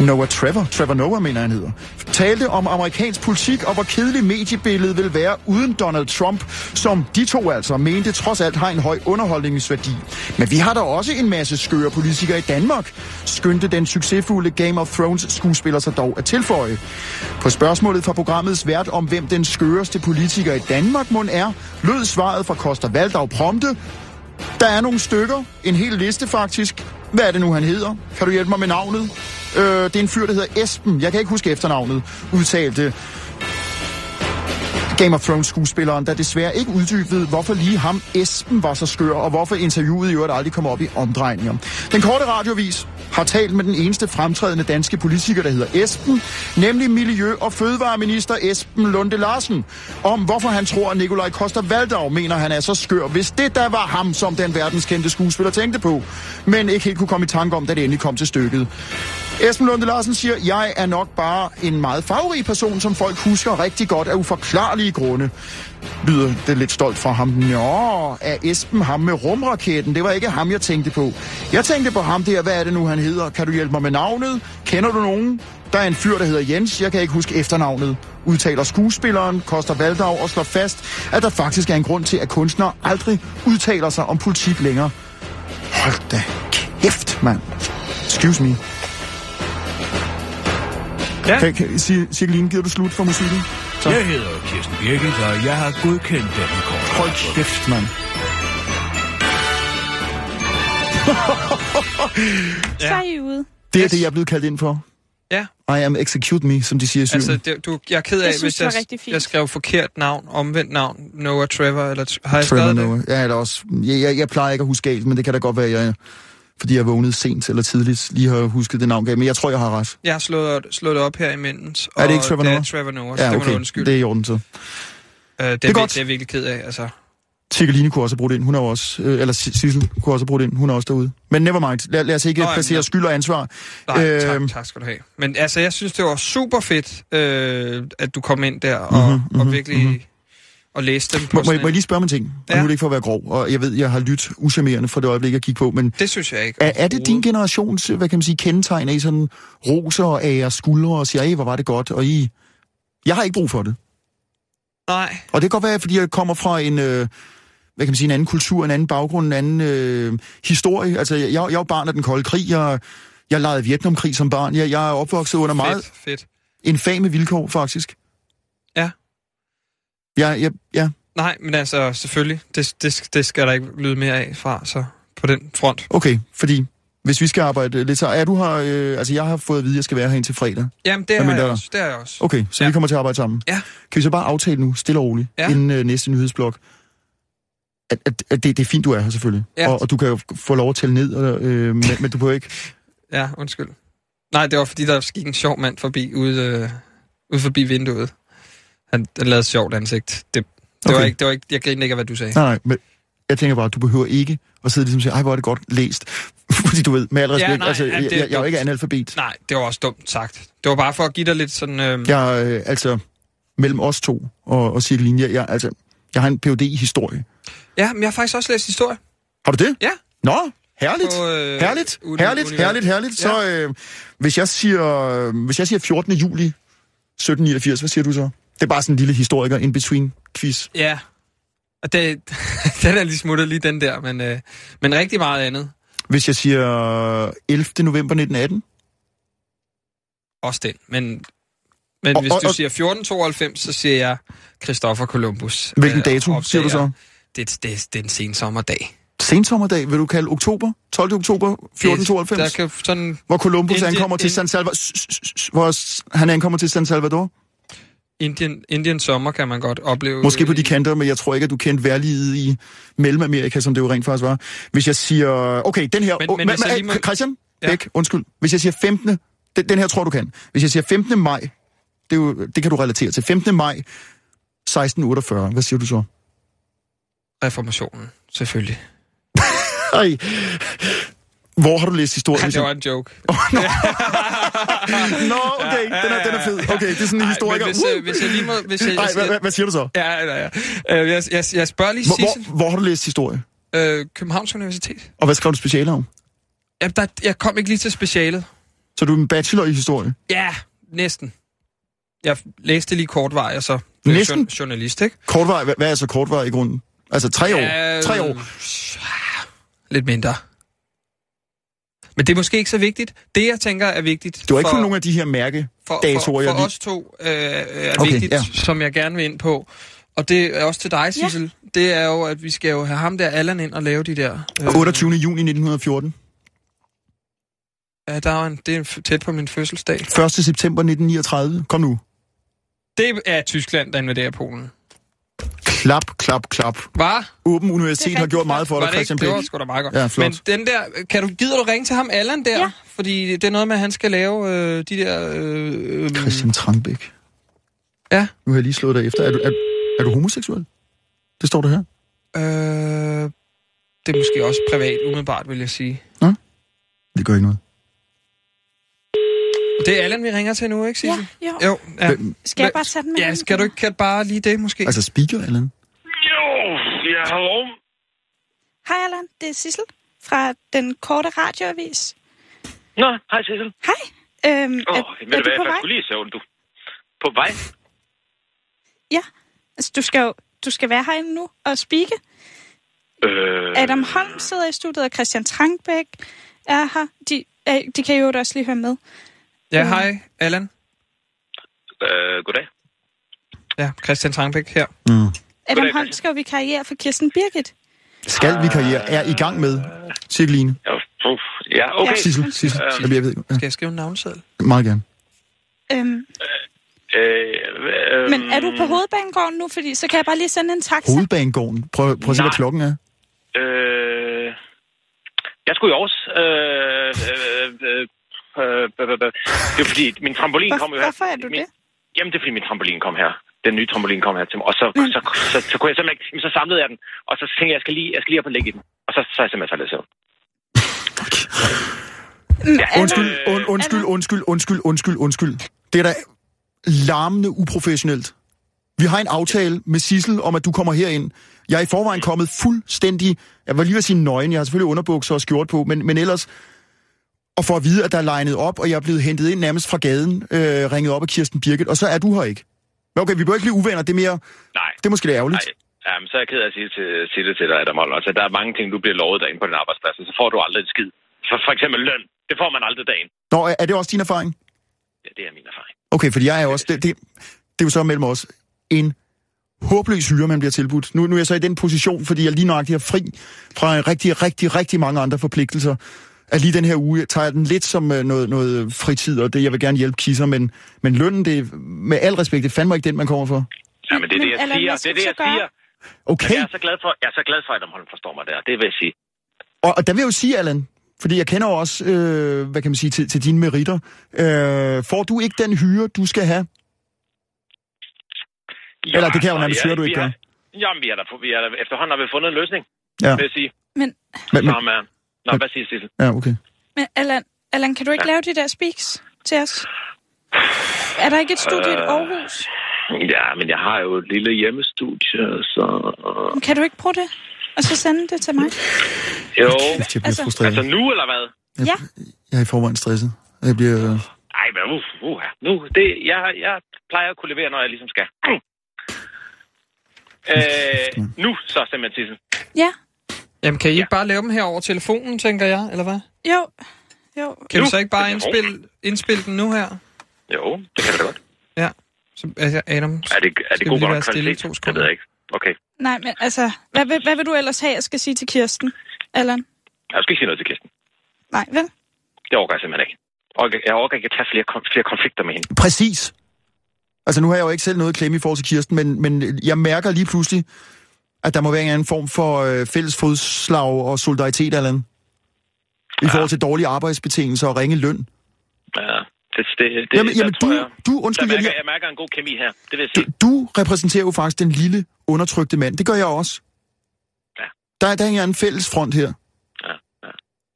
S5: Noah Trevor, Trevor Noah mener han hedder, talte om amerikansk politik og hvor kedeligt mediebilledet vil være uden Donald Trump, som de to altså mente trods alt har en høj underholdningsværdi. Men vi har da også en masse skøre politikere i Danmark, skyndte den succesfulde Game of Thrones skuespiller sig dog at tilføje. På spørgsmålet fra programmets vært om, hvem den skøreste politiker i Danmark mund er, lød svaret fra Koster Valdau prompte, der er nogle stykker, en hel liste faktisk, Hvad er det nu, han hedder? Kan du hjælpe mig med navnet? Øh, det er en fyr, der hedder Esben. Jeg kan ikke huske efternavnet, udtalte Game of Thrones-skuespilleren, der desværre ikke uddybede, hvorfor lige ham Esben var så skør, og hvorfor interviewet i øvrigt aldrig kom op i omdrejninger. Den korte radiovis har talt med den eneste fremtrædende danske politiker, der hedder Esben, nemlig Miljø- og Fødevareminister Esben Lunde Larsen, om hvorfor han tror, at Nikolaj Koster Valdau mener, han er så skør, hvis det der var ham, som den verdenskendte skuespiller tænkte på, men ikke helt kunne komme i tanke om, da det endelig kom til stykket. Esben Lunde Larsen siger, jeg er nok bare en meget farverig person, som folk husker rigtig godt af uforklarlige grunde. Lyder det lidt stolt fra ham. Nå, er Esben ham med rumraketten? Det var ikke ham, jeg tænkte på. Jeg tænkte på ham der, hvad er det nu, han hedder? Kan du hjælpe mig med navnet? Kender du nogen? Der er en fyr, der hedder Jens. Jeg kan ikke huske efternavnet. Udtaler skuespilleren Koster Valdau og slår fast, at der faktisk er en grund til, at kunstnere aldrig udtaler sig om politik længere. Hold da kæft, mand. Excuse me.
S6: Ja.
S5: Kan, kan, Cirkeline, giver du slut for musikken? Tak.
S7: Jeg hedder Kirsten Birgit, og jeg har godkendt denne kort.
S5: Hold kæft, mand.
S4: Ja. Så er I ude.
S5: Det er
S6: Yes.
S5: det, jeg er blevet kaldt ind for.
S6: Ja.
S5: I am execute me, som de siger i Syrien.
S6: Altså,
S5: Altså,
S6: det, du, jeg er ked af,
S4: Jeg synes, det var
S6: hvis
S4: rigtig
S6: jeg,
S4: fint.
S6: jeg skrev forkert navn, omvendt navn, Noah Trevor, eller tr- har jeg
S5: Trevor
S6: skrevet det?
S5: Noah. Ja, eller også. Jeg, jeg, jeg plejer ikke at huske galt, men det kan da godt være, jeg, fordi jeg vågnede sent eller tidligt, lige har husket det navn galt. Men jeg tror, jeg har ret.
S6: Jeg har slået, slået det op her imens.
S5: Er det ikke Trevor
S6: Det er
S5: Noah?
S6: Trevor Noah, så
S5: Ja,
S6: det må du
S5: okay.
S6: undskylde.
S5: Det er i orden så.
S6: Øh, det, er
S5: er
S6: det, er
S5: godt.
S6: det er jeg virkelig ked af, altså.
S5: Tirkeline kunne også have brugt det ind. Hun er jo også, øh, eller Sis- Sissel kunne også have brugt det ind. Hun er også derude. Men never mind. Lad, lad os ikke
S6: Nå, jamen,
S5: placere
S6: ja.
S5: skyld og ansvar.
S6: Nej, øhm.
S5: Øhm.
S6: tak, tak skal du have. Men altså, jeg synes, det var super fedt, øh, at du kom ind der og, mm-hmm, mm-hmm, og virkelig mm-hmm. og læste dem på
S5: Mhm, Må, må,
S6: sådan
S5: jeg- må jeg
S6: en-
S5: lige spørge om en ting? Og
S6: Ja.
S5: nu er det ikke for at være grov, og jeg ved, jeg har lyttet uschammerende for det øjeblik, jeg gik på, men
S6: Det synes jeg ikke.
S5: Er, er det din generations, hvad kan man sige, kendetegn af sådan roser og ære skuldre og siger, "Ej, hvor var det godt, og I... Jeg har ikke brug for det.
S6: Nej,
S5: Og det kan godt være, fordi jeg kommer fra en, øh, hvad kan man sige, en anden kultur, en anden baggrund, en anden øh, historie. Altså, jeg, jeg er jo barn af den kolde krig, jeg, jeg legede Vietnamkrig som barn. Jeg, jeg er opvokset under
S6: fedt,
S5: meget
S6: fedt.
S5: infame vilkår, faktisk.
S6: Ja.
S5: Ja, ja, ja.
S6: Nej, men altså, selvfølgelig, det, det, det skal der ikke lyde mere af fra, så på den front.
S5: Okay, fordi hvis vi skal arbejde lidt så... Er du her... Øh, altså, jeg har fået at vide, at jeg skal være her indtil fredag.
S6: Jamen, det
S5: Hvad
S6: har
S5: mener
S6: jeg
S5: du?
S6: også. Det har jeg også.
S5: Okay, så
S6: Ja.
S5: ja. vi kommer til at arbejde sammen.
S6: Ja.
S5: Kan vi så bare aftale nu, stille og roligt,
S6: Ja.
S5: ja. inden øh, næste nyhedsblok, at, at, at det, det er fint, du er her selvfølgelig.
S6: Ja.
S5: Og, og du kan jo få lov at tælle ned, og, øh, men, men du behøver ikke...
S6: Ja, undskyld. Nej, det var fordi, der gik en sjov mand forbi ude, øh, ude forbi vinduet. Han, han lavede et sjovt ansigt. Det, det, okay. var
S5: Okay.
S6: ikke, det var ikke, jeg grinede ikke af, hvad du sagde.
S5: Nej, nej, men jeg tænker bare, at du behøver ikke at sidde ligesom og sige, ej, hvor er det godt læst. [laughs] Fordi du ved, med al respekt,
S6: nej,
S5: altså,
S6: ja, det
S5: jeg,
S6: er
S5: jeg, jeg er jo
S6: dumt.
S5: ikke analfabet.
S6: Nej, det var også dumt sagt. Det var bare for at give dig lidt sådan... Øh, ja.
S5: Jeg er, øh, altså, mellem os to og, og Cirkeline, jeg, jeg, altså, jeg har en Ph.D. i historie.
S6: ja, men jeg har faktisk også læst historie.
S5: Har du det?
S6: Ja.
S5: Nå, herligt.
S6: På, øh,
S5: Herligt,
S6: uni-
S5: herligt,
S6: univers-
S5: herligt, herligt. Så øh, hvis, jeg siger, øh, hvis jeg siger 14. juli 1789, hvad siger du så? Det er bare sådan en lille historiker in-between-quiz.
S6: Ja. Og det, [laughs] den er lige smuttet lige den der, men, øh, men rigtig meget andet.
S5: Hvis jeg siger 11. november 1918,
S6: Også den. Men, men og,
S5: Og-
S6: hvis
S5: og-
S6: du
S5: og-
S6: siger 1492, så siger jeg Christopher Columbus.
S5: hvilken
S6: øh,
S5: dato siger du
S6: opdager-
S5: så?
S6: Det, det, det er en sen sommerdag.
S5: Sensommerdag, vil du kalde oktober? 12. oktober
S6: Der
S5: 1492,
S6: kan sådan
S5: hvor Columbus
S6: Indien-
S5: ankommer til
S6: Ind-
S5: San Salvador. Hvor s- han ankommer til San Salvador.
S6: Indian, Indian sommer kan man godt opleve.
S5: Mm. Måske på de
S6: Øh,
S5: kanter, men jeg tror ikke, at du kendte værliget i Mellemamerika, som det jo rent faktisk var. Hvis jeg siger... Okay, den her...
S6: Men-
S5: Men,
S6: men
S5: men,
S6: hvis jeg lige må-
S5: Christian
S6: Ja.
S5: ja. Bæk, undskyld. Hvis jeg siger 15... Den, den her tror du kan. Hvis jeg siger 15. maj, det, er jo, det kan du relatere til. 15. maj 1648. Hvad siger du så?
S6: Reformationen, selvfølgelig.
S5: Ej. Hvor har du læst historie?
S6: Ja,
S5: hvis
S6: det
S5: jeg-
S6: var en joke.
S5: Nå, okay, den er, den er fed. Okay, det er sådan en
S6: Ej,
S5: historiker.
S6: Men hvis, øh, hvis jeg lige må... Hvis jeg,
S5: Ej, hvad, hvad, hvad siger du så?
S6: Ja, ja, ja. Øh, Jeg, jeg, jeg spørger lige
S5: Hvor,
S6: Sissel.
S5: hvor, hvor har du læst historie?
S6: Øh, Københavns Universitet.
S5: Og hvad skrev du speciale om?
S6: Ja, der, jeg kom ikke lige til specialet.
S5: Så du er en bachelor i historie?
S6: Ja, næsten. Jeg læste lige kort vej, og så blev
S5: Næsten?
S6: jour- journalist, ikke?
S5: Kortvej, hvad, hvad er så kortvej i grunden? Altså tre år? Tre år?
S6: Lidt mindre. Men det er måske ikke så vigtigt. Det, jeg tænker, er vigtigt
S5: Det var ikke
S6: for,
S5: kun nogle af de her mærke.
S6: for, for,
S5: datoer, jeg
S6: for
S5: lige-
S6: os to, øh, er okay,
S5: Okay,
S6: vigtigt, ja.
S5: ja.
S6: som jeg gerne vil ind på. Og det er også til dig, Sissel. Ja. Det øh, er jo, at vi skal jo have ham der, Allan, ind og lave de der...
S5: 28. juni 1914.
S6: Ja, der var en, det er en f- tæt på min fødselsdag.
S5: 1. september 1939. Kom nu.
S6: Det er Tyskland, der invaderer Polen.
S5: Klap, klap, klap.
S6: Var?
S5: Åben Universitet har
S4: rigtigt.
S5: gjort meget for
S6: var
S5: dig,
S6: det ikke?
S5: Christian
S6: Det var
S5: Bæk.
S6: sgu da meget godt.
S5: Ja, flot.
S6: Men den der, kan du, gider du ringe til ham Allan der?
S4: Ja.
S6: Fordi det er noget med, at han skal lave øh, de der... Øh, øh,
S5: Mm. Christian Trangbæk.
S6: Ja.
S5: Nu har jeg lige slået dig efter. Er du, er, er du homoseksuel? Det står der her.
S6: øh, det er måske også privat, umiddelbart, vil jeg sige.
S5: Det gør ikke noget.
S6: Og det er Allan, vi ringer til nu, ikke,
S4: Ja,
S6: Sissel?
S4: jo.
S6: Jo, ja.
S5: Hvem-
S4: Skal jeg
S6: Hvad-
S4: bare tage den
S6: Ja, skal du ikke kan bare lige det, måske?
S5: Altså speaker eller andet?
S8: Jo, ja, hallo.
S4: Hej, Allan. Det er Sissel fra den korte radioavis.
S8: Nå, hej Sissel.
S4: Hej. Øhm, er,
S8: Åh, oh, ved
S4: er
S8: du
S4: du
S8: hvad,
S4: på
S8: jeg
S4: vej?
S8: skulle lige søvn, du. På vej?
S4: Ja. Altså, du skal jo du skal være herinde nu og speake.
S8: Øh,
S4: Adam Holm sidder i studiet, og Christian Trangbæk er her. De, øh, de kan jo også lige høre med.
S6: Ja, hej, Allan.
S8: øh, goddag.
S6: Ja, Christian Trangbæk her.
S5: Mm.
S4: Adam
S8: Goddag,
S4: Holm
S8: Christian.
S4: skal jo vikariere for Kirsten Birgit.
S5: Skal vi karriere er i gang med, siger Line.
S8: Ja, puh, ja okay.
S4: Ja.
S5: Sissel, Sissel.
S8: Øhm.
S5: Jamen, Jeg ved, ikke. ja,
S6: Skal jeg skrive en navnseddel?
S5: meget gerne.
S4: Øhm,
S8: Øh, øh,
S4: men er du på hovedbanegården nu? Fordi så kan jeg bare lige sende en taxa.
S5: Hovedbanegården. Prøv, prøv at se, hvad
S8: Nej.
S5: klokken er.
S8: Øh, jeg skulle i Aarhus. Øh, øh, øh, øh, øh, øh, øh. det er fordi, min trampolin kom
S4: Hvor,
S8: jo her.
S4: hvorfor er du
S8: min,
S4: det?
S8: Jamen, det er fordi min trampolin kom her. Den nye trampolin kom her til mig. Og så, så,
S4: Mm.
S8: så, så, kunne jeg simpelthen ikke... Jamen, så samlede jeg den. Og så tænkte jeg, jeg skal lige, jeg skal lige op og lægge i den. Og så, så er jeg simpelthen faldet i søvn.
S4: Ja,
S5: Undskyld, und, undskyld, undskyld, undskyld, undskyld, undskyld. Det er da larmende uprofessionelt. Vi har en aftale med Sissel om, at du kommer herind. Jeg er i forvejen kommet fuldstændig... Jeg var lige ved at sige nøgen. Jeg har selvfølgelig underbukser og skjort på, men, men ellers... Og for at vide, at der er legnet op, og jeg er blevet hentet ind nærmest fra gaden, øh, ringet op af Kirsten Birgit, og så er du her ikke. Men okay, vi behøver ikke blive uvenner. Det er mere...
S8: Nej.
S5: Det er måske lidt
S4: Mm.
S5: ærgerligt.
S8: Nej, jamen, så er jeg ked af at sige, til, sige det til dig, Adam Holm. Altså, der er mange ting, du bliver lovet derinde på din arbejdsplads, og så får du aldrig et skid. For, for eksempel løn. Det får man aldrig dagen.
S5: Nå, er- er det også din erfaring?
S8: Ja, det er min erfaring.
S5: Okay, fordi jeg er også... Det, det, det er jo så mellem os en håbløs hyre, man bliver tilbudt. Nu, nu er jeg så i den position, fordi jeg lige nøjagtig er fri fra rigtig, rigtig, rigtig mange andre forpligtelser. At lige den her uge tager jeg den lidt som øh, noget, noget fritid, og det, jeg vil gerne hjælpe kisser, men, men lønnen, det er med al respekt, det er fandme ikke den, man kommer for.
S8: Ja, men det er
S4: Men
S8: det, jeg
S4: Allan,
S8: siger.
S4: hvad
S8: Det
S4: skal
S8: er det,
S4: du
S8: jeg
S4: så gøre?
S8: siger.
S5: Okay,
S8: Jeg er så glad for, jeg er så glad for, at Adam Holm forstår mig der. Det vil jeg sige.
S5: og, og der vil jeg jo sige, Allan, fordi jeg kender jo også, øh, hvad kan man sige, til, til dine meritter. Øh, får du ikke den hyre, du skal have? Eller det kan jeg jo
S8: altså,
S5: nærmest høre, du
S8: vi
S5: ikke
S8: har-
S5: gør.
S8: Jamen, vi har da, fu- vi har da, efterhånden har vi fundet en løsning,
S5: Ja.
S8: ja. vil jeg sige.
S4: Men,
S5: Men, men,
S8: Nå, man. Nå,
S5: Men-
S8: hvad siger Sissel?
S5: ja, okay.
S4: men Allan, Allan, kan du ikke lave de der speaks til os? Er der ikke et studie i Aarhus?
S8: Ja, men jeg har jo et lille hjemmestudie, så...
S4: Kan du ikke bruge det? Og så sende det til mig?
S8: Jo,
S5: Kæft, jeg bliver
S4: Altså-
S5: frustreret.
S8: altså nu eller hvad?
S4: Ja.
S5: Jeg er i forvejen stresset. Jeg bliver... øh,
S8: Ej, men uff, uh, nu, det, jeg, jeg plejer at kunne levere, når jeg ligesom skal. [clears throat] Mm. Øh, nu så, simpelthen, Sissel.
S4: Ja,
S6: Jamen, kan I ikke bare lave dem her over telefonen, tænker jeg, eller hvad?
S4: jo. Jo,
S6: Kan
S8: Nu.
S6: du så ikke bare
S8: Jo.
S6: indspille, indspille den nu her?
S8: Jo, det kan vi da godt.
S6: Ja. Så, altså, Adam,
S8: Er det, er
S6: Skal
S8: det
S6: vi
S8: god
S6: lige
S8: nok
S6: være stille i
S8: kvalitet?
S6: to
S8: Det ved
S6: sekunder?
S8: jeg ikke. Okay,
S4: nej, men altså, hvad vil, hvad vil du ellers have, jeg skal sige til Kirsten, Allan?
S8: jeg skal ikke sige noget til Kirsten.
S4: Nej, vel?
S8: Det overgår jeg simpelthen ikke. Og jeg- jeg overgår ikke at tage flere, kon- flere konflikter med hende.
S5: Præcis. Altså, nu har jeg jo ikke selv noget at klemme i forhold til Kirsten, men, men jeg mærker lige pludselig, at der må være en anden form for øh, fælles fodslag og solidaritet eller andet. I forhold til dårlige arbejdsbetingelser og ringe løn.
S8: Ja, det, det, det,
S5: Jamen,
S8: der
S5: jamen
S8: tror
S5: du,
S8: jeg,
S5: du,
S8: der
S5: undskyld, jeg,
S8: mærker,
S5: lige-
S8: jeg mærker en god kemi her. Det vil jeg
S5: du,
S8: sige.
S5: du repræsenterer jo faktisk den lille, undertrykte mand. Det gør jeg også.
S8: Ja.
S5: Der, er- der er en fælles front her.
S8: Ja, ja,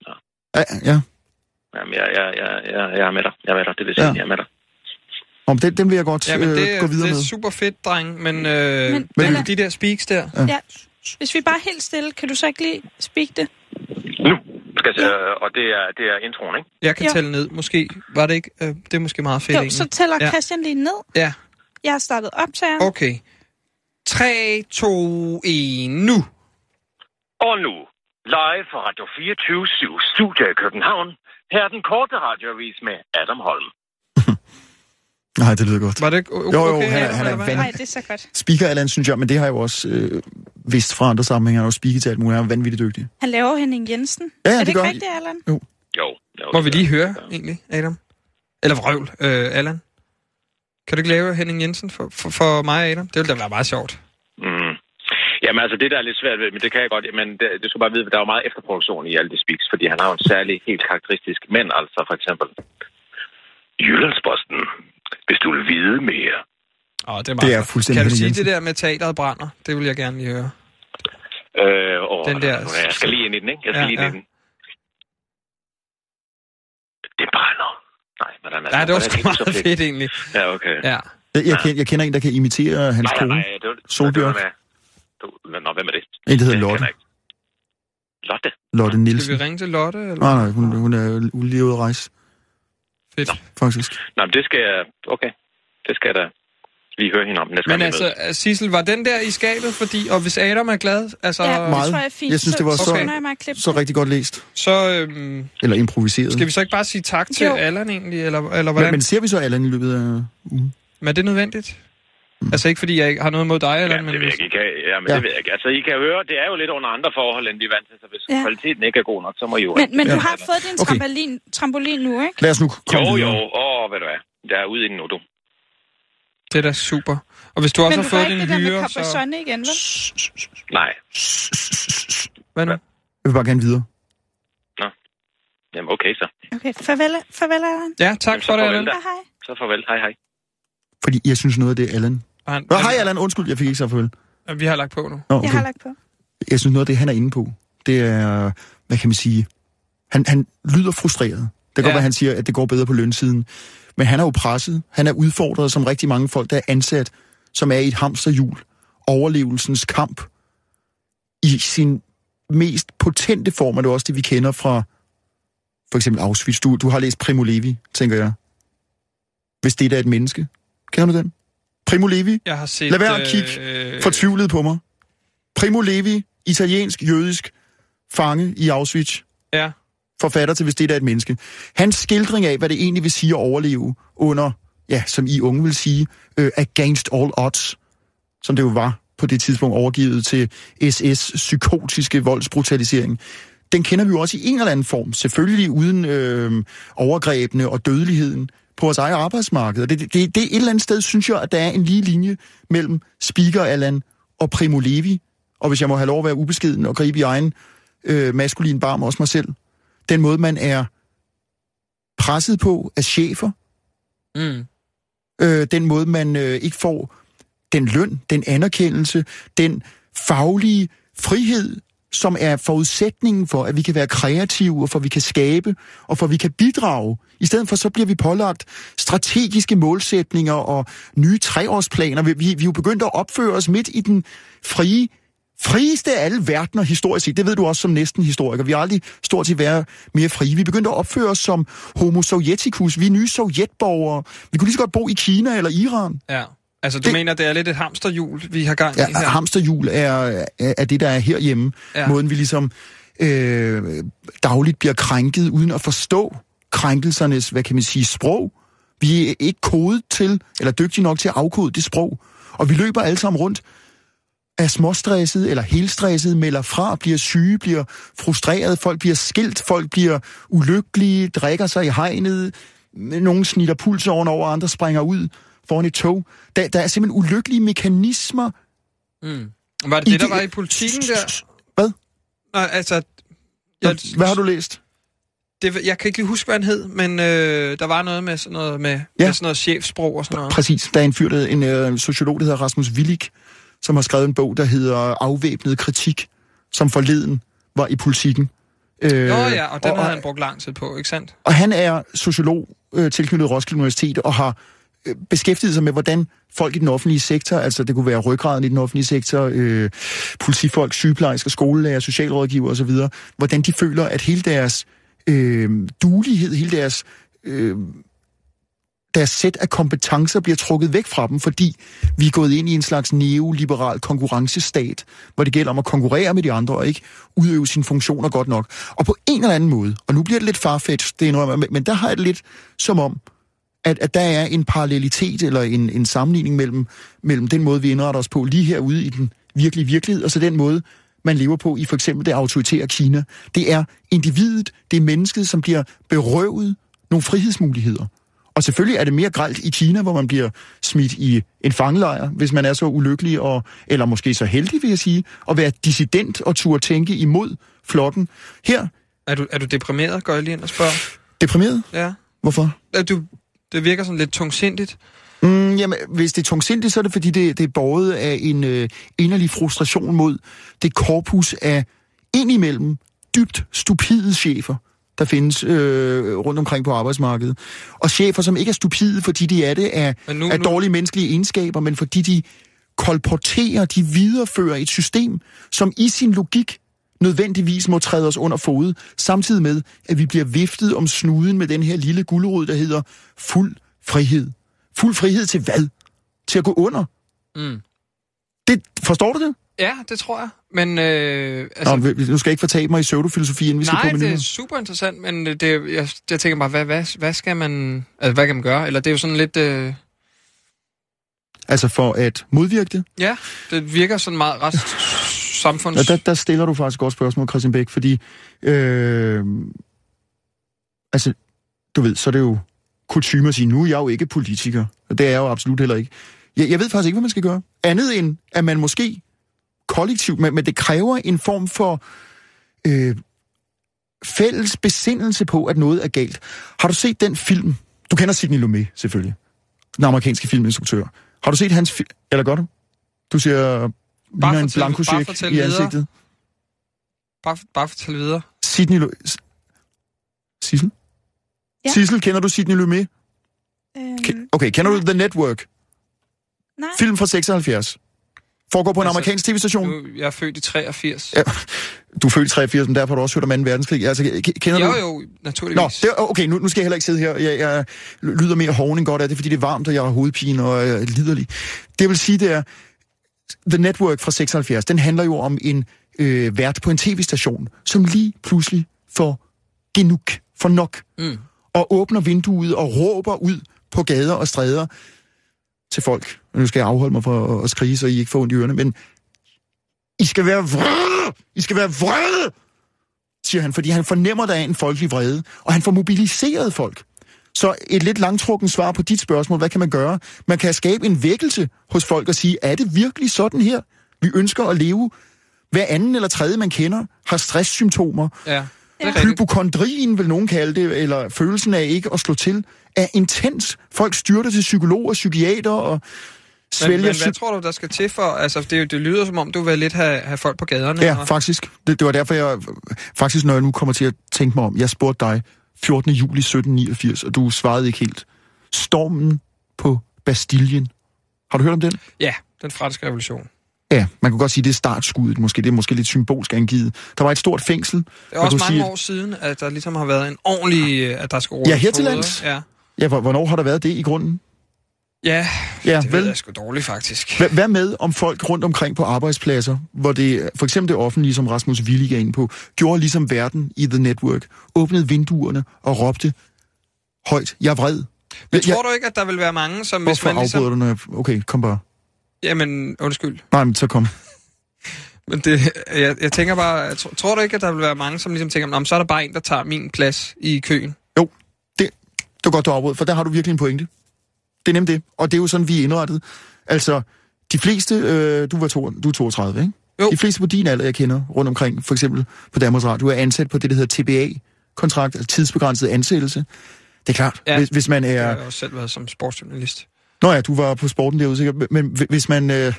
S8: ja.
S5: Ja, ja.
S8: Jamen, jeg, jeg, jeg, jeg, jeg er med dig. Jeg er med dig. Det vil jeg sige.
S5: Ja.
S8: Jeg er med dig.
S5: Om den, den vil jeg godt
S6: Jamen, det,
S5: øh, gå videre
S6: det
S5: med.
S6: er super fedt, dreng, men, øh, men,
S4: Men-
S6: men
S5: Men-
S6: de der speaks der...
S5: Ja.
S4: Ja. Hvis vi bare er helt stille, kan du så ikke lige speak det?
S8: Nu skal jeg, se, øh, og det er, det er introen, ikke?
S6: Jeg kan
S4: Jo.
S6: tælle ned, måske. Var det ikke? Øh, det er måske meget fedt,
S4: Jo,
S6: egentlig.
S4: så tæller
S6: Ja.
S4: Christian lige ned.
S6: Ja,
S4: Jeg har startet optageren.
S6: okay. 3, 2, 1, nu!
S8: Og nu, live fra Radio 24 Studio i København. Her er den korte radioavis med Adam Holm.
S5: Nej, det lyder godt.
S6: Var det ikke o- okay?
S5: Jo, jo, han er-
S6: eller
S5: han er
S6: hvad?
S5: vanvittig.
S4: Nej, det er så godt.
S5: Speaker Allan, synes jeg, men det har jeg jo også øh, vidst fra andre sammenhænge. Han har jo speaket til alt muligt. Han er vanvittigt dygtig.
S4: Han laver Henning Jensen. er
S5: ja, det
S4: det ikke
S5: gør han.
S4: rigtigt, Allan?
S8: Jo, jo. jo
S6: Må vi lige
S8: der.
S6: høre, egentlig, Adam? Eller vrøvl, øh, Allan? Kan du ikke lave Henning Jensen for, for, for mig, Adam? Det ville da være meget sjovt.
S8: Mm. Jamen altså, det der er lidt svært ved, men det kan jeg godt, men det, du skal bare vide, at der er jo meget efterproduktion i alle de speaks, fordi han har jo en særlig, helt karakteristisk mænd, altså for eksempel Jyllandsposten. Hvis du vil vide mere.
S6: Åh, det er
S5: Det
S6: meget
S5: er
S6: godt.
S5: fuldstændig
S6: Kan du
S5: Henning
S6: sige
S5: Jensen.
S6: det der med teateret brænder? Det vil jeg gerne lige høre.
S8: Øh, og
S6: Den der-
S8: Jeg skal lige ind i den, ikke? Jeg skal
S6: Ja,
S8: ja, lige ind
S6: ja.
S8: ja. i den. Det brænder. Nej, hvordan er
S6: Ja, det var sgu
S8: hvordan er
S6: meget
S8: så
S6: fedt, egentlig.
S8: Ja, okay.
S6: Ja.
S5: Jeg, jeg, kender, jeg kender en, der kan imitere hans
S8: nej, nej,
S5: kone.
S8: nej, det var,
S5: Solbjørn.
S8: Det var, det var, nå, hvem er det?
S5: En, der hedder
S8: Den
S5: Lotte.
S8: kender jeg ikke. Lotte?
S5: Lotte
S6: Skal
S5: Nielsen.
S6: vi ringe til Lotte? Eller?
S5: Nej, nej, hun, hun er hun er lige ude at rejse,
S6: Fedt.
S5: faktisk.
S8: Nå, men det skal jeg... Okay. Det skal jeg da lige høre hende om næste
S6: Men
S8: gang, vi
S6: altså, Sissel, var den der i skabet? Fordi, og hvis Adam er glad, altså,
S4: Ja,
S6: ja.
S4: det
S5: Meget.
S4: tror jeg er fint.
S5: Jeg synes, det var
S4: så,
S6: så-
S4: så, skynder jeg mig at klippe
S5: Så
S4: det.
S5: rigtig godt læst.
S6: så øhm,
S5: Eller improviseret.
S6: skal vi så ikke bare sige tak til
S4: Jo.
S6: Allan egentlig, eller, eller hvordan?
S5: men,
S6: Men,
S5: men ser vi så Allan i løbet af ugen?
S6: men... Er det nødvendigt?
S5: Mm.
S6: Altså ikke fordi jeg ikke har noget mod dig, Allan,
S8: Ja,
S6: men...
S8: det ved jeg ikke. I kan, ja, men
S5: Ja.
S8: ja. det ved jeg ikke. Altså, I kan høre, det er jo lidt under andre forhold, end de er vant til. Så hvis
S4: Ja.
S8: ja. kvaliteten ikke er god nok, så må I jo...
S4: Men, men du har fået din
S5: Okay.
S4: trampolin, trampolin nu, ikke?
S5: Lad os nu
S8: Jo,
S5: komme
S8: jo.
S5: videre.
S8: Åh, oh, ved du hvad. Jeg er ude i den nu, du.
S6: Det er da super. Og hvis du også
S4: men
S6: har
S4: du var
S6: fået
S4: ikke
S6: din
S4: det der med
S6: hyre,
S4: Copper
S6: så...
S4: Sonne igen, vel?
S8: Nej.
S6: Hvad nu?
S5: Jeg vil bare gerne videre.
S8: Jamen, okay så.
S4: Okay, farvel, farvel Allan.
S6: Ja, tak
S8: Jamen, så
S6: for det,
S8: farvel
S6: Allan.
S8: da.
S4: Hej, hej.
S8: Så farvel. Hej, hej.
S5: Fordi jeg synes noget af det er Allan.
S6: Og han-
S5: Nå, hej Allan, undskyld, jeg fik ikke så farvel.
S6: Jamen, Vi har lagt på nu.
S5: Nå,
S4: Jeg har
S5: okay.
S4: lagt på.
S5: Jeg synes noget af det, han er inde på, det er, hvad kan man sige, han, han lyder frustreret. Det kan
S6: Ja.
S5: godt være, han siger, at det går bedre på lønsiden. Men han er jo presset. Han er udfordret som rigtig mange folk, der er ansat, som er i et hamsterhjul. Overlevelsens kamp i sin mest potente form, er det også det, vi kender fra for eksempel Auschwitz. Du, du har læst Primo Levi, tænker jeg. Hvis det er et menneske. Kender du den? Primo Levi?
S6: Jeg har set...
S5: Lad være at kigge
S6: øh,
S5: fortvivlede på mig. Primo Levi, italiensk, jødisk fange i Auschwitz,
S6: Ja,
S5: forfatter til Hvis det er et menneske. Hans skildring af, hvad det egentlig vil sige at overleve under, ja, som I unge vil sige, øh, against all odds, som det jo var på det tidspunkt overgivet til SS' psykotiske voldsbrutalisering. Den kender vi jo også i en eller anden form, selvfølgelig uden øh, overgrebene og dødeligheden på vores eget arbejdsmarked. Og det, det, det, det et eller andet sted, synes jeg, at der er en lige linje mellem Speaker Allan og Primo Levi. Og hvis jeg må have lov at være ubeskeden og gribe i egen øh, maskulin barm, også mig selv. Den måde, man er presset på af chefer,
S6: mm.
S5: øh, den måde, man øh, ikke får den løn, den anerkendelse, den faglige frihed, som er forudsætningen for, at vi kan være kreative, og for at vi kan skabe, og for at vi kan bidrage. I stedet for, så bliver vi pålagt strategiske målsætninger og nye treårsplaner. Vi, vi, vi er jo begyndt at opføre os midt i den frie, frieste af alle verdener historisk set. Det ved du også som næsten historiker. Vi har aldrig stort set været mere frie. Vi begyndte at opføre os som homo sovjeticus. Vi er nye sovjetborgere. Vi kunne lige så godt bo i Kina eller Iran.
S6: ja. Altså, du det...
S5: Det-
S6: mener, det er lidt et hamsterhjul, vi har gang i
S5: Ja,
S6: her?
S5: hamsterhjul er, er, er det, der er herhjemme.
S6: Ja.
S5: Ja. Måden, vi ligesom øh, dagligt bliver krænket, uden at forstå krænkelsernes, hvad kan man sige, sprog. Vi er ikke kodet til, eller dygtige nok til at afkode det sprog. Og vi løber alle sammen rundt, er småstresset eller helstresset, melder fra, bliver syge, bliver frustreret, folk bliver skilt, folk bliver ulykkelige, drikker sig i hegnet, nogen snitter puls over, og andre springer ud foran et tog. Der, der er simpelthen ulykkelige mekanismer,
S6: Var det det, der
S5: Ide-
S6: var i politikken der?
S5: Hvad?
S6: Nej, altså...
S5: Jeg... Hvad har du læst?
S6: Det, jeg kan ikke lige huske, hvad han hed, men øh, der var noget med sådan noget, med, ja.
S5: Ja.
S6: med sådan noget chefsprog og sådan noget.
S5: Præcis. Der er en fyr, der, en øh, sociolog, der hedder Rasmus Willig, som har skrevet en bog, der hedder Afvæbnet kritik, som forleden var i politikken. Øh,
S6: Nå ja, og den
S5: og,
S6: havde han brugt lang tid på, ikke sandt?
S5: og han er sociolog øh, tilknyttet Roskilde Universitet og har øh, beskæftiget sig med, hvordan folk i den offentlige sektor, altså det kunne være ryggraden i den offentlige sektor, øh, politifolk, sygeplejersker, skolelærer, socialrådgiver osv., hvordan de føler, at hele deres øh, dulighed, hele deres øh, deres sæt af kompetencer bliver trukket væk fra dem, fordi vi er gået ind i en slags neoliberal konkurrencestat, hvor det gælder om at konkurrere med de andre og ikke udøve sine funktioner godt nok. Og på en eller anden måde, og nu bliver det lidt farfetched, det indrømmer jeg, men- men der har jeg det lidt som om, at, at der er en parallelitet eller en, en sammenligning mellem, mellem den måde, vi indretter os på lige herude i den virkelige virkelighed, og så den måde, man lever på i for eksempel det autoritære Kina. Det er individet, det er mennesket, som bliver berøvet nogle frihedsmuligheder. Og selvfølgelig er det mere gralt i Kina, hvor man bliver smidt i en fangelejr, hvis man er så ulykkelig, og, eller måske så heldig, vil jeg sige, at være dissident og turde tænke imod flokken. Her,
S6: Er du, er du deprimeret, går jeg lige ind og spørger?
S5: deprimeret.
S6: Ja.
S5: Hvorfor?
S6: Er Øh, du, det virker sådan lidt tungsindigt.
S5: Mm, jamen, hvis det er tungsindigt, så er det fordi, det, det er borget af en øh, inderlig frustration mod det korpus af indimellem dybt stupide chefer, der findes øh, rundt omkring på arbejdsmarkedet. Og chefer, som ikke er stupide, fordi de er det af,
S6: Men
S5: nu,
S6: nu-
S5: af
S6: nu-
S5: dårlige menneskelige egenskaber, men fordi de kolporterer, de viderefører et system, som i sin logik nødvendigvis må træde os under fod, samtidig med, at vi bliver viftet om snuden med den her lille gulerod, der hedder fuld frihed. Fuld frihed til hvad? Til at gå under.
S6: Mm.
S5: Det, forstår du det?
S6: Ja, det tror jeg. Men øh, altså,
S5: Altså, Nå, vi- nu skal jeg ikke fortabe mig i pseudofilosofi, inden vi skal
S6: Nej,
S5: på
S6: det
S5: menuen.
S6: er super interessant, men øh, det, det- jeg, jeg tænker bare, hvad, hvad, hvad skal man, altså, hvad kan man gøre? Eller det er jo sådan lidt, øh,
S5: Altså for at modvirke det.
S6: ja, det virker sådan meget ret
S5: Ja,
S6: samfunds...
S5: der, der stiller du faktisk et godt spørgsmål, Christian Bæk, fordi... Øh, altså, du ved, så er det jo kutume at sige, nu er jeg jo ikke politiker. Og det er jeg jo absolut heller ikke. Jeg, jeg ved faktisk ikke, hvad man skal gøre. Andet end, at man måske kollektivt, men, men det kræver en form for øh, fælles besindelse på, at noget er galt. Har du set den film? Du kender Sidney Lumet, selvfølgelig. Den amerikanske filminstruktør. Har du set hans film? Eller gør du? Du siger... Bare ligner en
S6: fortæl- bare
S5: blankocheck
S6: fortæl
S5: i
S6: videre.
S5: ansigtet.
S6: Bare, bare fortæl videre.
S5: Sidney Lu... Sissel?
S4: Ja.
S5: Sissel, kender du Sidney Lumet?
S4: Øhm,
S5: Ke- Okay, kender du The Network?
S4: nej.
S5: Film fra 76. Foregår på en
S6: Altså,
S5: amerikansk tv-station.
S6: Nu, jeg er født i 83.
S5: Ja. Du er født i 83, men derfor har du også hørt om 2. verdenskrig. Altså, ke- kender
S6: Jo,
S5: du...
S6: jo, naturligvis.
S5: Nå, det, okay, nu, nu skal jeg heller ikke sidde her. Jeg, jeg lyder mere hoven end godt af det, fordi det er varmt, og jeg har hovedpine og jeg er liderlig. Det jeg vil sige, det er, The Network fra 76, den handler jo om en øh, vært på en tv-station, som lige pludselig får genug, for nok,
S6: Mm.
S5: og åbner vinduet og råber ud på gader og stræder til folk. Nu skal jeg afholde mig fra at- at skrige, så I ikke får ondt i ørerne, men I skal være vrede! I skal være vrede! siger han, fordi han fornemmer, der er en folkelig vrede, og han får mobiliseret folk. Så et lidt langtrukken svar på dit spørgsmål, hvad kan man gøre? Man kan skabe en vækkelse hos folk og sige, er det virkelig sådan her? Vi ønsker at leve. Hver anden eller tredje, man kender, har stresssymptomer.
S6: Ja, det er rigtigt.
S5: Hypokondrien, vil nogen kalde det, eller følelsen af ikke at slå til, er intens. Folk styrter til psykologer, psykiater og
S6: Men,
S5: svælger...
S6: men hvad tror du, der skal til for? Altså, det, er jo- det lyder som om, du vil lidt have, have folk på gaderne.
S5: Ja,
S6: og-
S5: faktisk. Det, det var derfor, jeg... Faktisk, når jeg nu kommer til at tænke mig om, jeg spurgte dig 14. juli 1789, og du svarede ikke helt. Stormen på Bastillen. Har du hørt om den?
S6: ja, den franske revolution.
S5: Ja, man kunne godt sige, det er startskuddet måske. Det er måske lidt symbolsk angivet. Der var et stort fængsel.
S6: Det er
S5: Man
S6: også
S5: kunne
S6: mange
S5: sige-
S6: år siden, at der ligesom har været en ordentlig... øh, At der skal rådes
S5: Ja, her til
S6: poder.
S5: lands.
S6: Ja,
S5: Ja, hvor- hvornår har der været det i grunden?
S6: ja
S5: Ja,
S6: det ved
S5: vel?
S6: jeg sgu dårligt, faktisk.
S5: Hva- Hvad med om folk rundt omkring på arbejdspladser, hvor det for eksempel det offentlige, som Rasmus Willig er inde på, gjorde ligesom verden i The Network, åbnede vinduerne og råbte højt, jeg er vred.
S6: Men tror du ikke, at der vil være mange, som... hvis
S5: Hvorfor
S6: man ligesom,
S5: afbryder du, når jeg... Okay, kom bare.
S6: Jamen, undskyld.
S5: Nej, men så kom.
S6: Men det, jeg, jeg tænker bare, tro, tror du ikke, at der vil være mange, som ligesom tænker, "Nå, men så er der bare en, der tager min plads i køen?
S5: Jo, det, det var godt, du afbrød, for der har du virkelig en pointe. Det er nemt det, og det er jo sådan, vi er indrettet. Altså, de fleste, øh, du, var to, du er 32, ikke?
S6: Jo.
S5: De fleste på din alder, jeg kender rundt omkring, for eksempel på Danmarks Radio, er ansat på det, der hedder TBA-kontrakt, altså tidsbegrænset ansættelse. Det er klart, ja.
S6: Ja.
S5: hvis, hvis man
S6: Ja.
S5: er...
S6: Jeg har også selv været som sportsjournalist.
S5: Nå ja, du var på sporten derude sikkert, men hv- hvis man øh,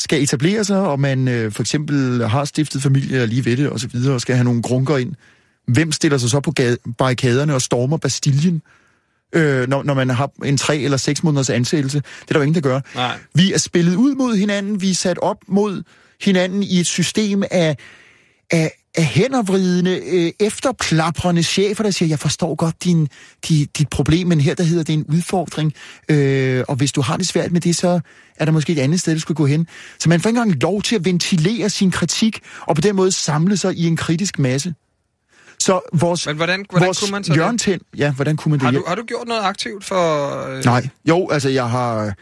S5: skal etablere sig, og man øh, for eksempel har stiftet familie og lige ved det og så videre, og skal have nogle grunker ind, hvem stiller sig så på gade- barrikaderne og stormer Bastillen, øh, når, når man har en tre eller seks måneders ansættelse? Det er der jo ingen, der gør.
S6: Nej.
S5: Vi er spillet ud mod hinanden, vi er sat op mod hinanden i et system af, af, af hændervridende, øh, efterklaprende chefer, der siger, jeg forstår godt din, di, dit problem, men her der hedder det en udfordring, øh, og hvis du har det svært med det, så er der måske et andet sted, du skulle gå hen. Så man får ikke engang lov til at ventilere sin kritik, og på den måde samle sig i en kritisk masse. Så vores,
S6: Men hvordan- hvordan
S5: vores
S6: kunne man så det?
S5: hjørnetind, ja, hvordan kunne man det?
S6: Har
S5: Jeg-
S6: du, har du gjort noget aktivt for... Øh,
S5: Nej. Jo, altså jeg har...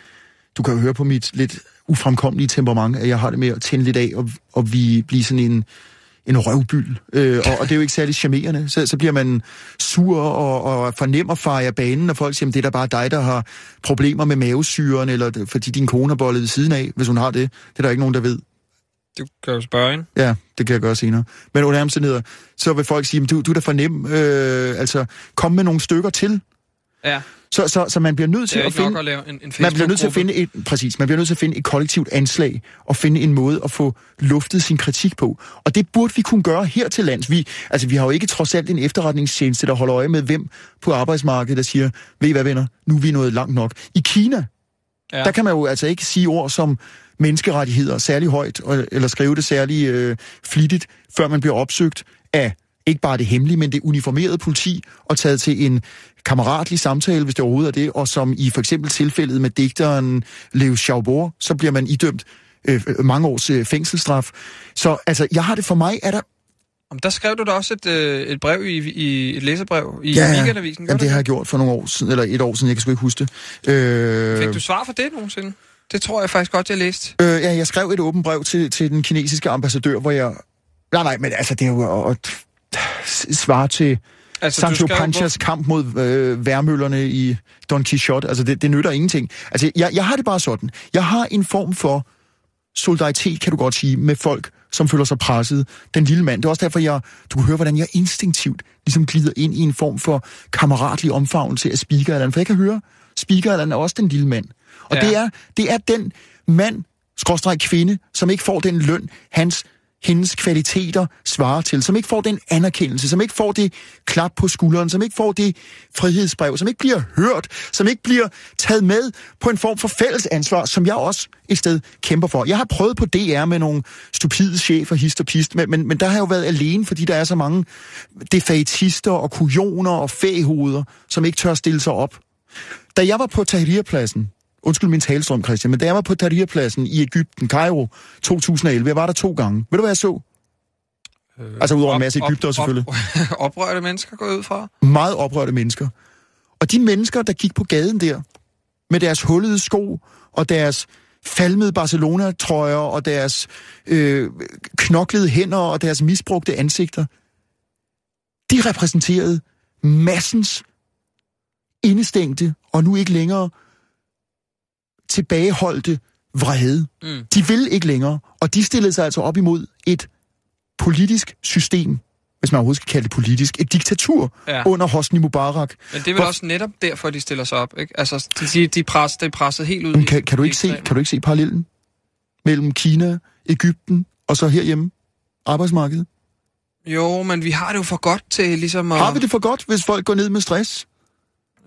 S5: Du kan jo høre på mit lidt ufremkommelige temperament, at jeg har det med at tænde lidt af og, og vi blive sådan en, en røvbyld. Øh, og, og det er jo ikke særlig charmerende. Så, så bliver man sur og, og fornemmer far af banen, og folk siger, "Jamen, det er da bare dig, der har problemer med mavesyren, eller det- fordi din kone har bollet ved siden af, hvis hun har det. Det er der ikke nogen, der ved.
S6: Du kan jo spørge hende.
S5: Ja, det kan jeg gøre senere. Men under alle omstændigheder, så vil folk sige, "Jamen, du, du er da for nem. Øh, altså, kom med nogle stykker til.
S6: Ja,
S5: Så, så, så man bliver nødt
S6: det
S5: til
S6: er
S5: at
S6: ikke
S5: finde...
S6: nok at lave en, en
S5: Man bliver nødt til at finde et, præcis, man bliver nødt til at finde et kollektivt anslag og finde en måde at få luftet sin kritik på. Og det burde vi kunne gøre her til lands. Vi, altså, vi har jo ikke trods alt en efterretningstjeneste, der holder øje med hvem på arbejdsmarkedet, der siger, ved I hvad venner, nu er vi nået langt nok. I Kina,
S6: Ja.
S5: ja. der kan man jo altså ikke sige ord som menneskerettigheder særlig højt, og- eller skrive det særlig øh, flittigt, før man bliver opsøgt af ikke bare det hemmelige, men det uniformerede politi, og taget til en kammeratlig samtale, hvis det overhovedet er det, og som i for eksempel tilfældet med digteren Leo Schaubor, så bliver man idømt øh, mange års øh, fængselsstraf. Så altså, jeg har det for mig, er der...
S6: Jamen, der skrev du da også et, øh, et brev i, i et læserbrev i
S5: Ja,
S6: weekendavisen. gjorde
S5: Jamen,
S6: du
S5: det har jeg gjort for nogle år siden, eller et år siden, jeg kan sgu ikke huske det. Øh...
S6: Fik du svar for det nogensinde? Det tror jeg faktisk godt, jeg læste.
S5: Øh, ja, jeg skrev et åbent brev til, til den kinesiske ambassadør, hvor jeg... Nej, nej, men altså, det er jo at- at svare til
S6: Altså,
S5: Sancho
S6: skrev,
S5: Panchas kamp mod øh, værmøllerne i Don Quixote. Altså, det, det nytter ingenting. Altså, jeg, jeg har det bare sådan. Jeg har en form for solidaritet, kan du godt sige, med folk, som føler sig presset. Den lille mand. Det er også derfor, jeg, du kan høre, hvordan jeg instinktivt ligesom glider ind i en form for kammeratlig omfavnelse af Speaker Allan. For jeg kan høre, Speaker Allan er også den lille mand. Og
S6: Ja.
S5: ja. det, er, det er den mand, skråstreg kvinde, som ikke får den løn, hans hendes kvaliteter svarer til, som ikke får den anerkendelse, som ikke får det klap på skulderen, som ikke får det frihedsbrev, som ikke bliver hørt, som ikke bliver taget med på en form for fælles ansvar, som jeg også et sted kæmper for. Jeg har prøvet på DR med nogle stupide chefer, hist og pist, men, men, men der har jeg jo været alene, fordi der er så mange defaitister og kujoner og fæhoveder, som ikke tør stille sig op. Da jeg var på Tahrirpladsen, undskyld min talestrøm, Christian, men da jeg var på Tahrirpladsen i Ægypten, Cairo, 2011, jeg var der to gange. Ved du, hvad jeg så? Øh, altså udover en masse Ægypter selvfølgelig.
S6: Op, [laughs] oprørte mennesker går jeg ud fra.
S5: Meget oprørte mennesker. Og de mennesker, der gik på gaden der, med deres hullede sko og deres falmede Barcelona-trøjer og deres øh, knoklede hænder og deres misbrugte ansigter, de repræsenterede massens indestængte og nu ikke længere tilbageholdte vrede.
S6: Mm.
S5: Mm. De ville ikke længere, og de stillede sig altså op imod et politisk system, hvis man overhovedet skal kalde det politisk, et diktatur
S6: Ja.
S5: ja. under Hosni Mubarak.
S6: Men det er vel
S5: Hvor-
S6: også netop derfor, de stiller sig op, ikke? Altså, de, de, de pres, det er presset helt ud.
S5: Men
S6: i-
S5: kan, kan, du
S6: i
S5: ikke se,
S6: ekstremer.
S5: kan du ikke se parallellen mellem Kina, Ægypten og så herhjemme? Arbejdsmarkedet.
S6: Jo, men vi har det jo for godt til ligesom at...
S5: Har vi det for godt, hvis folk går ned med stress?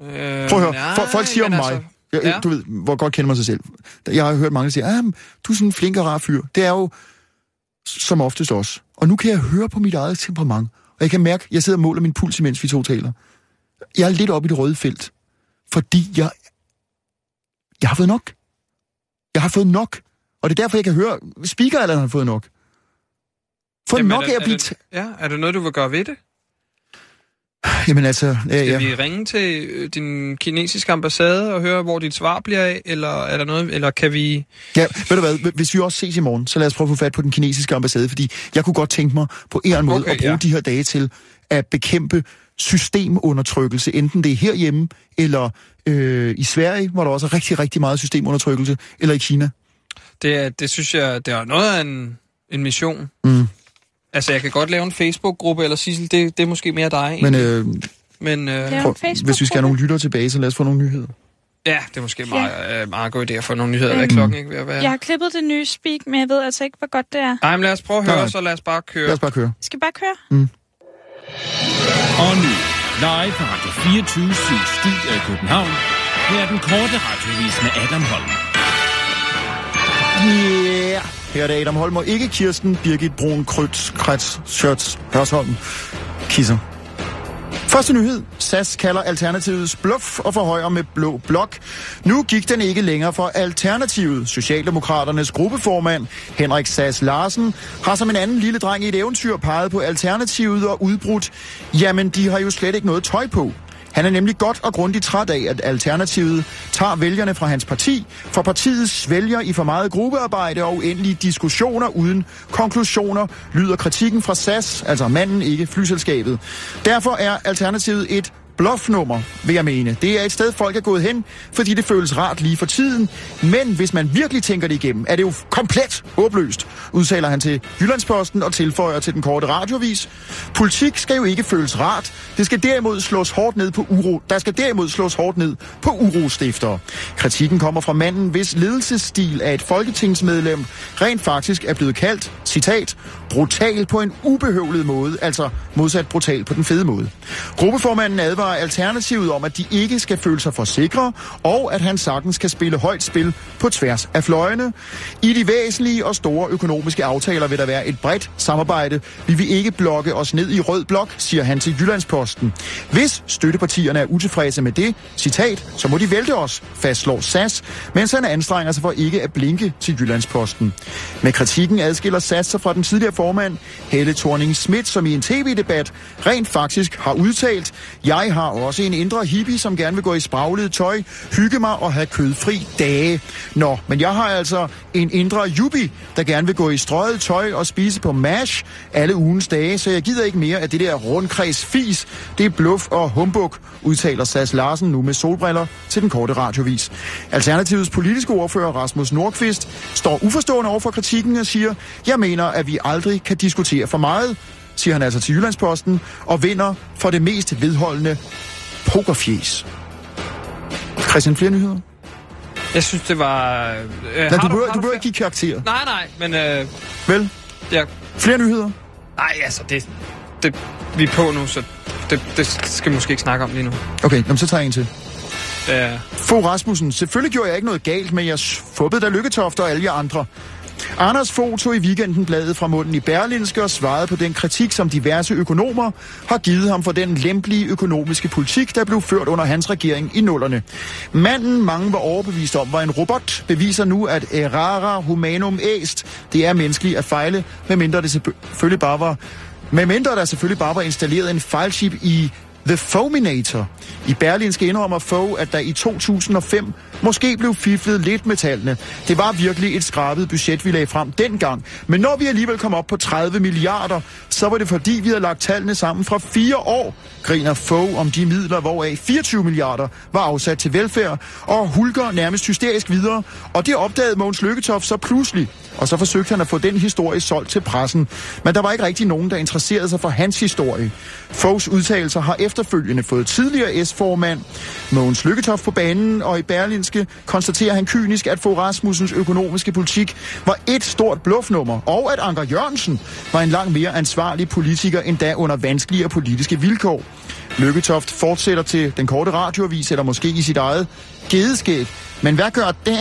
S6: Øh,
S5: Prøv at høre,
S6: nej,
S5: for, folk siger om
S6: men
S5: mig,
S6: altså-
S5: jeg,
S6: ja.
S5: ja. du ved, hvor godt kender man sig selv. Jeg har hørt mange, der siger, ah, men du er sådan en flink og rar fyr. Det er jo som oftest os. Og nu kan jeg høre på mit eget temperament, og jeg kan mærke, jeg sidder og måler min puls, imens vi to taler. Jeg er lidt oppe i det røde felt, fordi jeg, jeg har fået nok. Jeg har fået nok. Og det er derfor, jeg kan høre, speaker eller har fået nok. Fået
S6: Jamen, er
S5: nok
S6: det-
S5: af at
S6: er
S5: blive...
S6: det-
S5: T-
S6: Ja, er det noget, du vil gøre ved det?
S5: Jamen altså... Ja,
S6: Skal
S5: ja.
S6: vi ringe til øh, din kinesiske ambassade og høre, hvor dit svar bliver af, eller er der noget, eller kan vi...
S5: Ja, ved du hvad, hvis vi også ses i morgen, så lad os prøve at få fat på den kinesiske ambassade, fordi jeg kunne godt tænke mig på en eller anden måde
S6: Okay,
S5: at bruge
S6: ja.
S5: de her dage til at bekæmpe systemundertrykkelse, enten det er herhjemme, eller øh, i Sverige, hvor der også er rigtig, rigtig meget systemundertrykkelse, eller i Kina.
S6: Det, er- det synes jeg, det er noget af en, en mission.
S5: Mm.
S6: Altså, jeg kan godt lave en Facebook-gruppe, eller Sissel, det, det er måske mere dig.
S5: Men
S6: Men,
S5: øh,
S6: men øh,
S4: Ja.
S6: ja.
S5: prøv,
S4: Facebook-gruppe.
S5: hvis vi skal have nogle lyttere tilbage, så lad os få nogle nyheder.
S6: ja, det er måske meget, øh, meget god idé at få nogle nyheder. Hvad er klokken ikke ved at være?
S4: Jeg har klippet det nye speak, men jeg ved altså ikke, hvor godt det er.
S6: Nej, men lad os prøve at
S5: Nej.
S6: høre, så lad os bare køre.
S5: Lad os bare køre.
S4: Skal vi bare køre?
S5: Mm.
S7: Og nu, live fra Radio 24 Studio i København. Her er den korte radiovis med Adam Holm.
S5: Yeah. Her er det Adam Holm og ikke Kirsten Birgit Brun Krøtz, Krets, Schørts, Hørsholm, Kisser. Første nyhed. SAS kalder Alternativets bluff og forhøjer med blå blok. Nu gik den ikke længere for Alternativet. Socialdemokraternes gruppeformand, Henrik SAS Larsen, har som en anden lille dreng i et eventyr peget på Alternativet og udbrudt. Jamen, de har jo slet ikke noget tøj på. Han er nemlig godt og grundigt træt af, at Alternativet tager vælgerne fra hans parti, for partiet svælger i for meget gruppearbejde og uendelige diskussioner uden konklusioner, lyder kritikken fra SAS, altså manden, ikke flyselskabet. Derfor er Alternativet et bluffnummer, vil jeg mene. Det er et sted, folk er gået hen, fordi det føles rart lige for tiden. Men hvis man virkelig tænker det igennem, er det jo komplet håbløst, udtaler han til Jyllandsposten og tilføjer til den korte radiovis. Politik skal jo ikke føles rart. Det skal derimod slås hårdt ned på uro. Der skal derimod slås hårdt ned på urostifter. Kritikken kommer fra manden, hvis ledelsesstil af et folketingsmedlem rent faktisk er blevet kaldt, citat, brutal på en ubehøvlet måde, altså modsat brutal på den fede måde. Gruppeformanden advarer Alternativet om, at de ikke skal føle sig for sikre, og at han sagtens kan spille højt spil på tværs af fløjene. I de væsentlige og store økonomiske aftaler vil der være et bredt samarbejde. Vi vil ikke blokke os ned i rød blok, siger han til Jyllandsposten. Hvis støttepartierne er utilfredse med det, citat, så må de vælte os, fastslår SAS, mens han anstrenger sig for ikke at blinke til Jyllandsposten. Med kritikken adskiller SAS sig fra den tidligere formand, Helle thorning Schmidt, som i en tv-debat rent faktisk har udtalt, jeg har også en indre hippie, som gerne vil gå i spraglet tøj, hygge mig og have kødfri dage. Nå, men jeg har altså en indre yuppie, der gerne vil gå i strøget tøj og spise på mash alle ugens dage, så jeg gider ikke mere af det der rundkreds fis. Det er bluff og humbug, udtaler Sas Larsen nu med solbriller til den korte radiovis. Alternativets politiske ordfører Rasmus Nordqvist står uforstående over for kritikken og siger, jeg mener, at vi aldrig kan diskutere for meget, siger han altså til Jyllandsposten, og vinder for det mest vedholdende pokerfjes. Christian, flere nyheder?
S6: Jeg synes, det var... Øh,
S5: Nej, du behøver, du behøver ikke give karakterer.
S6: Nej, nej, men øh,
S5: Vel?
S6: ja,
S5: Flere nyheder?
S6: nej, altså, det, det, vi er på nu, så det, det skal vi måske ikke snakke om lige nu. Øh,
S5: Okay, jamen, så tager jeg en til.
S6: Ja,
S5: Fogh Rasmussen, selvfølgelig gjorde jeg ikke noget galt, men jeg fuppede da Lykketoft og alle jer andre. Anders Fogh tog i weekenden bladet fra munden i Berlinske og svarede på den kritik, som diverse økonomer har givet ham for den lempelige økonomiske politik, der blev ført under hans regering i nullerne. Manden, mange var overbevist om, var en robot, beviser nu, at errara humanum est, det er menneskeligt at fejle, medmindre det selvfølgelig bare var Medmindre der selvfølgelig bare var installeret en fejlchip i The Fominator. I Berlinske indrømmer Fogh, at der i 2005 måske blev fiflet lidt med tallene. Det var virkelig et skrabet budget, vi lagde frem dengang. Men når vi alligevel kom op på 30 milliarder, så var det fordi, vi havde lagt tallene sammen fra fire år, griner Fogh om de midler, hvoraf 24 milliarder var afsat til velfærd, og hulker nærmest hysterisk videre. Og det opdagede Mogens Lykketoft så pludselig, og så forsøgte han at få den historie solgt til pressen. Men der var ikke rigtig nogen, der interesserede sig for hans historie. Foghs udtalelser har efterfølgende fået tidligere S-formand Mogens Lykketoft på banen, og i Berlinske konstaterer han kynisk, at Fogh Rasmussens økonomiske politik var et stort bluffnummer, og at Anker Jørgensen var en langt mere ansvarlig politiker endda under vanskeligere politiske vilkår. Lykketoft fortsætter til den korte radioavis, eller måske i sit eget gedeskæg. Men hvad gør det?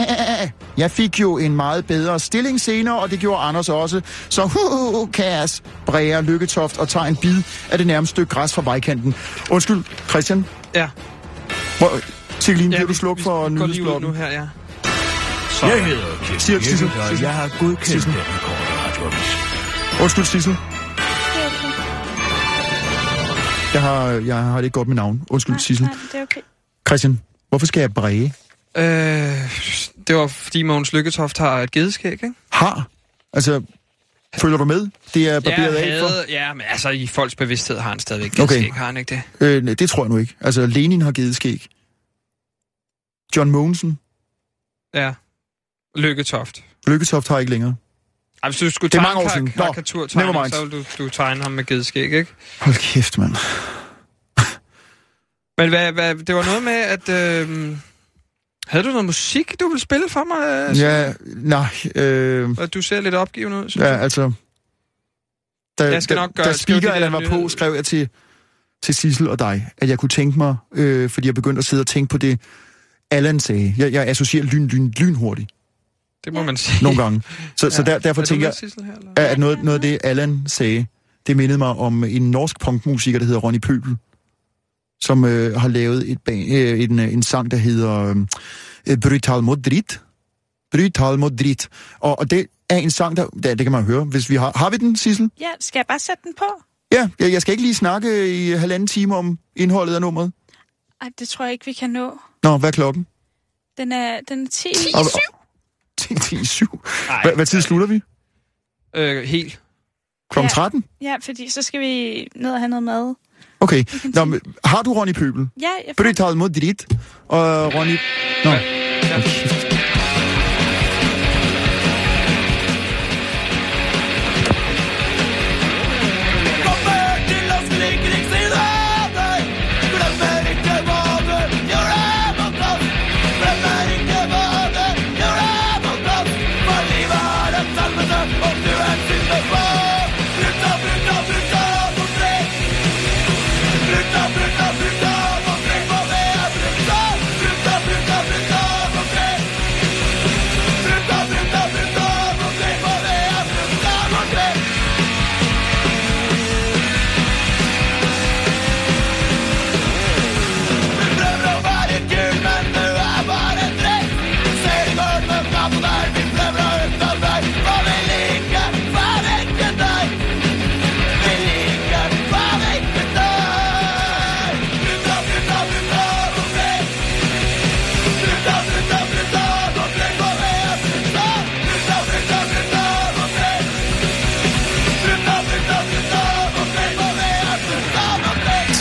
S5: Jeg fik jo en meget bedre stilling senere, og det gjorde Anders også. Så hu kaos, bræger Lykketoft og tager en bid af det nærmeste stykke græs fra vejkanten. Undskyld, Christian.
S6: ja.
S5: Hvor, Tikkelin, ja,
S6: ja
S5: vil du slukke for
S6: går lige ud nu
S5: nyhedsblokken?
S6: her, ja.
S7: Jeg hedder Kirsten
S5: Siger Sissel.
S7: Jægergaard, og jeg har godkendt den korte radioavis.
S5: Undskyld, Sissel. Jeg har, jeg har det ikke godt med navn. Undskyld, Sissel.
S4: Nej, det er okay.
S5: Christian, hvorfor skal jeg bræge?
S6: Øh, det var, fordi Mogens Lykketoft har et gedeskæg, ikke?
S5: Har? Altså, følger du med? Det er barberet
S6: jeg
S5: af for?
S6: havde, ja, men altså, i folks bevidsthed har han stadigvæk
S5: Okay.
S6: gedeskæg, okay. har han ikke det?
S5: Øh, nej, det tror jeg nu ikke. Altså, Lenin har givet skæg. John Mogensen.
S6: Ja. Lykketoft.
S5: Lykketoft har ikke længere.
S6: Ej, hvis du skulle
S5: Det er
S6: tegne
S5: mange år
S6: kar-
S5: siden. Nå,
S6: karikaturtegning,
S5: never mind.
S6: så ville du, du tegne ham med gedeskæg, ikke?
S5: Hold kæft, mand.
S6: Men hvad, hvad, det var noget med, at... Øh, havde du noget musik, du ville spille for mig? øh,
S5: Ja, nej, øh,
S6: Og du ser lidt opgivende ud, synes
S5: ja,
S6: jeg.
S5: altså... Da,
S6: Jeg skal
S5: da,
S6: nok gøre-
S5: da
S6: skrive
S5: speaker,
S6: de
S5: Allan
S6: der
S5: var på,
S6: nyheder.
S5: skrev jeg til, til Sissel og dig, at jeg kunne tænke mig, øh, fordi jeg begyndte at sidde og tænke på det, Allan sagde. Jeg, jeg associerer lyn, lyn, lyn hurtigt
S6: Det må man sige. [laughs]
S5: nogle gange. Så, ja. så der, derfor
S6: er
S5: tænker jeg,
S6: du jeg... Her, eller?
S5: at at noget, noget af det, Allan sagde, det mindede mig om en norsk punkmusiker, der hedder Ronny Pøbel, som øh, har lavet et ba- øh, en, øh, en sang, der hedder øh, Brutal Modrit. Brutal Modrit. Og, og det er en sang, der... Ja, det kan man høre, hvis vi har... Har vi den, Sissel?
S4: Ja, skal jeg bare sætte den på?
S5: Ja, jeg, jeg skal ikke lige snakke i halvanden time om indholdet af nummeret.
S4: Ej, det tror jeg ikke, vi kan nå.
S5: Nå, hvad er klokken?
S4: Den er, den er 10.
S5: Og- Det er 10 i syv. Hvad, hvad tid slutter vi?
S6: Øh, helt.
S5: Klokken
S4: Ja.
S5: 13?
S4: Ja, fordi så skal vi ned og have noget mad.
S5: Okay. Nå, men, har du Ronny Pøbel?
S4: Ja, jeg får...
S5: Bryt tal mod drit. Og Ronny... Nå.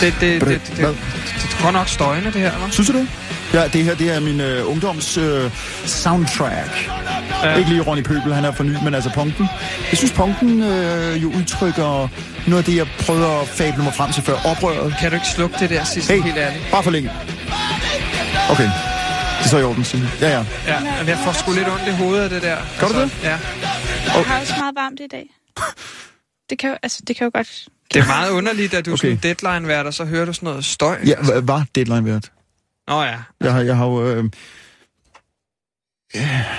S6: Det, det, det, det, det, det,
S5: Hvad?
S6: det er godt nok støjende, det her, hva'?
S5: Synes du det? Ja, det her det er min øh, ungdoms øh, soundtrack. Ja. Ikke lige Ronny Pøbel, han er for ny, men altså punken. Jeg synes, punken øh, jo udtrykker noget af det, jeg prøvede at fable mig frem til før. Oprøret.
S6: Kan du ikke slukke det der sidste
S5: Hey,
S6: helt ærligt?
S5: bare for længe. Okay, det er så i orden, Signe. Ja, ja.
S6: Ja, men jeg får sgu lidt ondt i hovedet af det der. Altså,
S5: Gør du det?
S6: Ja.
S4: Jeg har også meget varmt i dag. Det kan jo, altså, det kan jo godt...
S6: Det er meget underligt, at du okay.
S5: Okay.
S6: sådan en deadline-vært, og så hører du sådan noget støj.
S5: Ja, hva- var deadline værd.
S6: Nå ja.
S5: Jeg har, jeg har jo... Øh,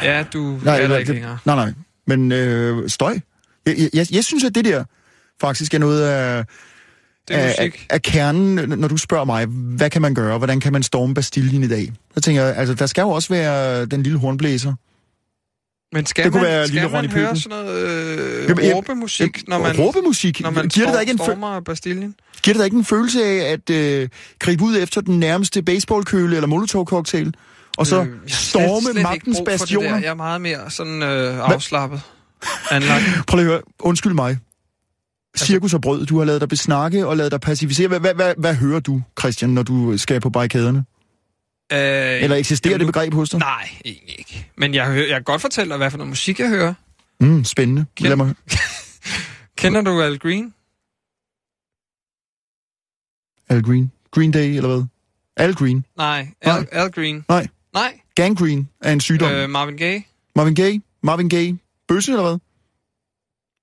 S6: Ja, du nej,
S5: nej,
S6: er der
S5: nej,
S6: ikke
S5: det,
S6: længere.
S5: nej, nej. Men øh, støj. Jeg, jeg, jeg, jeg synes, at det der faktisk er noget af...
S6: Det er
S5: af,
S6: musik.
S5: af kernen, n- når du spørger mig, hvad kan man gøre, hvordan kan man storme Bastillen i dag? Så tænker jeg, altså, der skal jo også være den lille hornblæser.
S6: Men skal
S5: det kunne
S6: man,
S5: være
S6: skal
S5: Lille
S6: man
S5: Ronny
S6: høre
S5: Pøbel.
S6: sådan noget øh,
S5: Jamen, jeg-
S6: råbemusik, når man,
S5: Råbemusik?
S6: når man
S5: giver, det da ikke en fø-
S6: stormer Bastillen?
S5: giver det da ikke en følelse af at øh, gribe ud efter den nærmeste baseballkøle eller molotovcocktail, og så øh,
S6: Øhm, jeg har slet-
S5: storme
S6: slet ikke
S5: magtens
S6: brug for det der.
S5: bastioner?
S6: Jeg Altså- er meget mere sådan øh, afslappet. Anlagt.
S5: Prøv lige at høre. Undskyld mig.
S6: Altså-
S5: Cirkus og brød, du har lavet dig besnakke og lavet dig passivisere. Hvad, hvad, hvad, hvad hører du, Christian, når du skal på barrikaderne?
S6: Øh,
S5: Eller eksisterer
S6: jamen,
S5: det begreb hos dig?
S6: Nej, egentlig ikke. Men jeg, hører, jeg kan godt fortælle dig, hvad for noget musik jeg hører.
S5: Mm, spændende.
S6: Kend-
S5: Lad mig...
S6: Kender du Al Green?
S5: Al Green. Green Day, eller hvad? Al Green.
S6: Nej, Al,
S5: Nej.
S6: Al Green.
S5: Nej.
S6: Nej,
S5: Gangrene er en sygdom. Øh...
S6: øh, Marvin Gaye.
S5: Marvin Gaye? Marvin Gaye? Bøsse, eller hvad?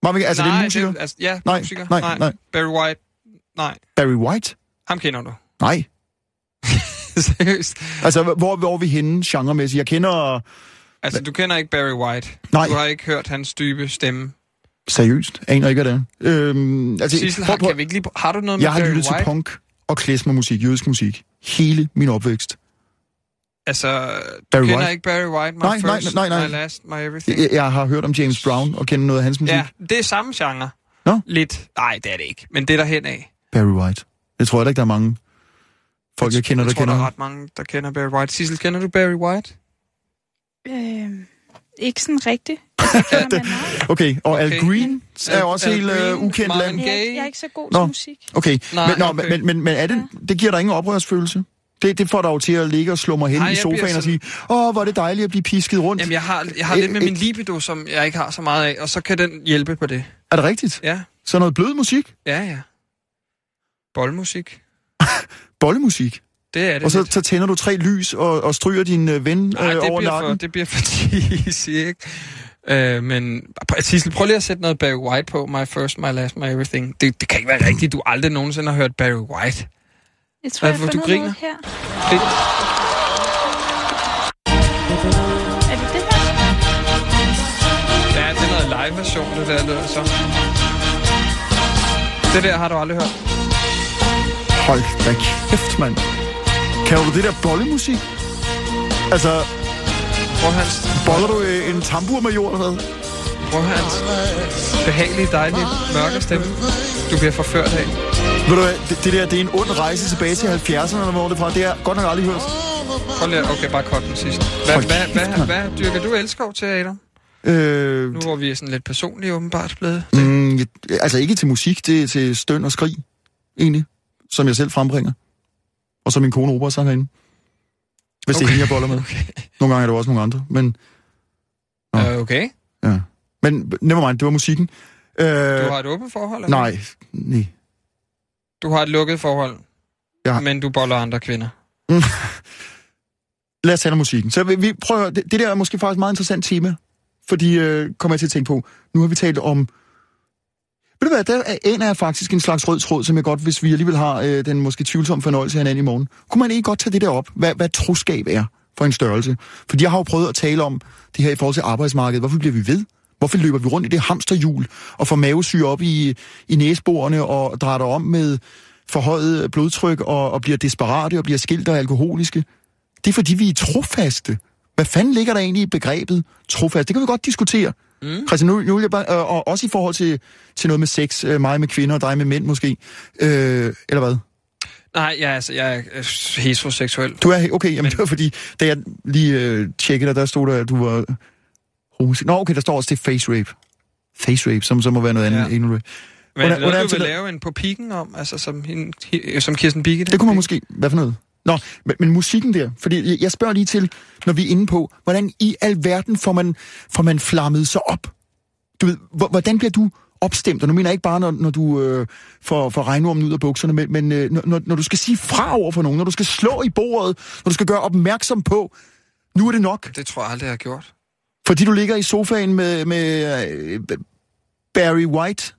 S5: Marvin Gaye, altså
S6: nej,
S5: det er en musiker.
S6: altså, ja,
S5: Nej,
S6: musiker.
S5: nej, nej.
S6: Barry White. Nej,
S5: Barry White?
S6: ham kender du. [laughs]
S5: Nej.
S6: Seriøst.
S5: Altså, hvor, hvor er vi henne genremæssigt? Jeg kender...
S6: Altså, du kender ikke Barry White.
S5: Nej.
S6: Du har ikke hørt hans dybe stemme.
S5: Seriøst, aner ikke, hvad det er. Øhm, altså,
S6: Sissel,
S5: prøv-
S6: har,
S5: prøv-
S6: kan vi ikke lige... Har du noget med
S5: Jeg har
S6: Barry
S5: lyttet til
S6: White?
S5: punk og klezmermusik, jødisk musik, hele min opvækst.
S6: Altså, du
S5: Barry
S6: kender
S5: White?
S6: ikke Barry White? My
S5: Nej, nej,
S6: first,
S5: nej, nej.
S6: My last, my everything.
S5: Jeg, jeg har hørt om James Brown og kender noget af hans musik.
S6: Ja,
S5: Ja.
S6: det er samme genre.
S5: Nå.
S6: Lidt. Nej, det er det ikke. Men det er der hen af.
S5: Barry White. Det tror jeg da ikke, der er mange folk, jeg kender,
S6: jeg
S5: der
S6: tror,
S5: kender.
S6: der er
S5: ham.
S6: ret mange, der kender Barry White. Sissel, kender du Barry White?
S4: Øh, ikke sådan rigtigt. Altså, kender man navn.
S5: Okay, og Al
S6: Okay.
S5: Green er
S6: Al-
S5: også
S6: Al
S5: helt
S6: Green,
S5: øh, ukendt
S6: Marvin
S5: land.
S4: Jeg, er ikke- jeg er ikke så god til
S5: Nå.
S4: musik.
S5: Okay,
S6: Nej,
S5: men, nå,
S6: okay.
S5: Men, men, men er det, det giver dig ingen oprørsfølelse? Det, det får dig jo til at ligge og slå mig hen
S6: Nej,
S5: i
S6: jeg bliver
S5: sofaen og sige,
S6: sådan-
S5: åh, hvor er det dejligt at blive pisket rundt.
S6: Jamen, jeg har, jeg har
S5: Øh,
S6: lidt med
S5: øh.
S6: min libido, som jeg ikke har så meget af, og så kan den hjælpe på det.
S5: Er det rigtigt?
S6: Ja,
S5: Så noget blød musik?
S6: ja, ja. Boldmusik.
S5: Bollemusik?
S6: Det er det
S5: Og så,
S6: lidt.
S5: så tænder du tre lys og, og stryger din øh, ven
S6: Nej,
S5: øh,
S6: det,
S5: over
S6: bliver for,
S5: nakken?
S6: det bliver for [laughs] cheesy, ikke? Øh, men pr- Sissel, prøv lige at sætte noget Barry White på. My first, my last, my everything. Det, det kan ikke være rigtigt. Du aldrig nogensinde har hørt Barry White.
S4: Jeg tror,
S6: Hvad,
S4: jeg
S6: hvor
S4: har
S6: du
S4: fundet
S6: griner?
S4: noget her.
S6: Det,
S4: Er det det her?
S6: ja, det er noget live-version, det der lyder så. Det der har du aldrig hørt.
S5: Hold da kæft, mand. Kan du det der bollemusik? Altså,
S6: Prøv hans,
S5: boller du øh, en tamburmajor eller hvad?
S6: prøv hans behagelige, dejlige, mørke stemme. Du bliver forført af.
S5: Ved du hvad, det, det der, det er en ond rejse tilbage til 70'erne, eller hvor er det fra. Det har jeg godt nok aldrig hørt.
S6: Prøv lige, at- okay, bare kort den sidste. Hvad,
S5: Hold
S6: hvad,
S5: kæft,
S6: hvad,
S5: mand.
S6: hvad dyrker du elskov til, Adam?
S5: Øh,
S6: Nu hvor vi er sådan lidt personlige åbenbart blevet.
S5: mm, jeg- altså ikke til musik, det er til støn og skrig, egentlig. Som jeg selv frembringer. Og som min kone opera sang herinde. Hvis okay. det er hende, jeg boller med.
S6: Okay.
S5: Nogle gange er der også nogle andre, men... Nå.
S6: Øh, okay.
S5: Ja. Men nevermind, det var musikken. Øh,
S6: Du
S5: har...
S6: har et åbent forhold? eller
S5: Nej, nej.
S6: Du har et lukket forhold,
S5: Jeg har-
S6: men du boller andre kvinder.
S5: Lad os tale om musikken. Så vi, vi prøver, det, det der er måske faktisk et meget interessant tema, fordi øh, kommer jeg til at tænke på, nu har vi talt om... Ved du hvad, der er en af faktisk en slags rød tråd, som jeg godt, hvis vi alligevel har øh, den måske tvivlsomme fornøjelse af hinanden i morgen. Kunne man ikke godt tage det der op, hvad, hvad troskab er for en størrelse? Fordi jeg har jo prøvet at tale om det her i forhold til arbejdsmarkedet. Hvorfor bliver vi ved? Hvorfor løber vi rundt i det hamsterhjul og får mavesyre op i, i næsborene og drejer dig om med forhøjet blodtryk og, og bliver desperate og bliver skilt og alkoholiske? Det er fordi, vi er trofaste. Hvad fanden ligger der egentlig i begrebet trofast? Det kan vi godt diskutere. Mm. Christian, nu, nu vil jeg bare, øh, og også i forhold til, til noget med sex, øh, mig med kvinder og dig med mænd måske, øh, eller hvad?
S6: Nej, jeg, er altså, jeg er øh, heteroseksuel.
S5: Du er, okay, jamen det var fordi, da jeg lige øh, tjekkede dig, der stod der, at du var homose... Nå, okay, der står også det face rape. Face rape, som så må være noget andet.
S6: Ja.
S5: Ja. Rape.
S6: Men
S5: Hvordan-
S6: er det noget,
S5: hvordan
S6: du vil
S5: tillader-
S6: lave en på pikken om, altså som, hende, hi- som Kirsten Birke?
S5: Det kunne man måske... Hvad for noget? Nå, men, men musikken der, fordi jeg- jeg spørger lige til, når vi er inde på, hvordan i alverden får man, får man flammet sig op? Du ved, hvor- hvordan bliver du opstemt? Og nu mener jeg ikke bare, når, når du øh, får, får regnormen ud af bukserne, men, men øh, når- når, når du skal sige fra over for nogen, når du skal slå i bordet, når du skal gøre opmærksom på, nu er det nok,
S6: Det tror jeg aldrig, jeg har gjort.
S5: fordi du ligger i sofaen med, med øh, Barry White.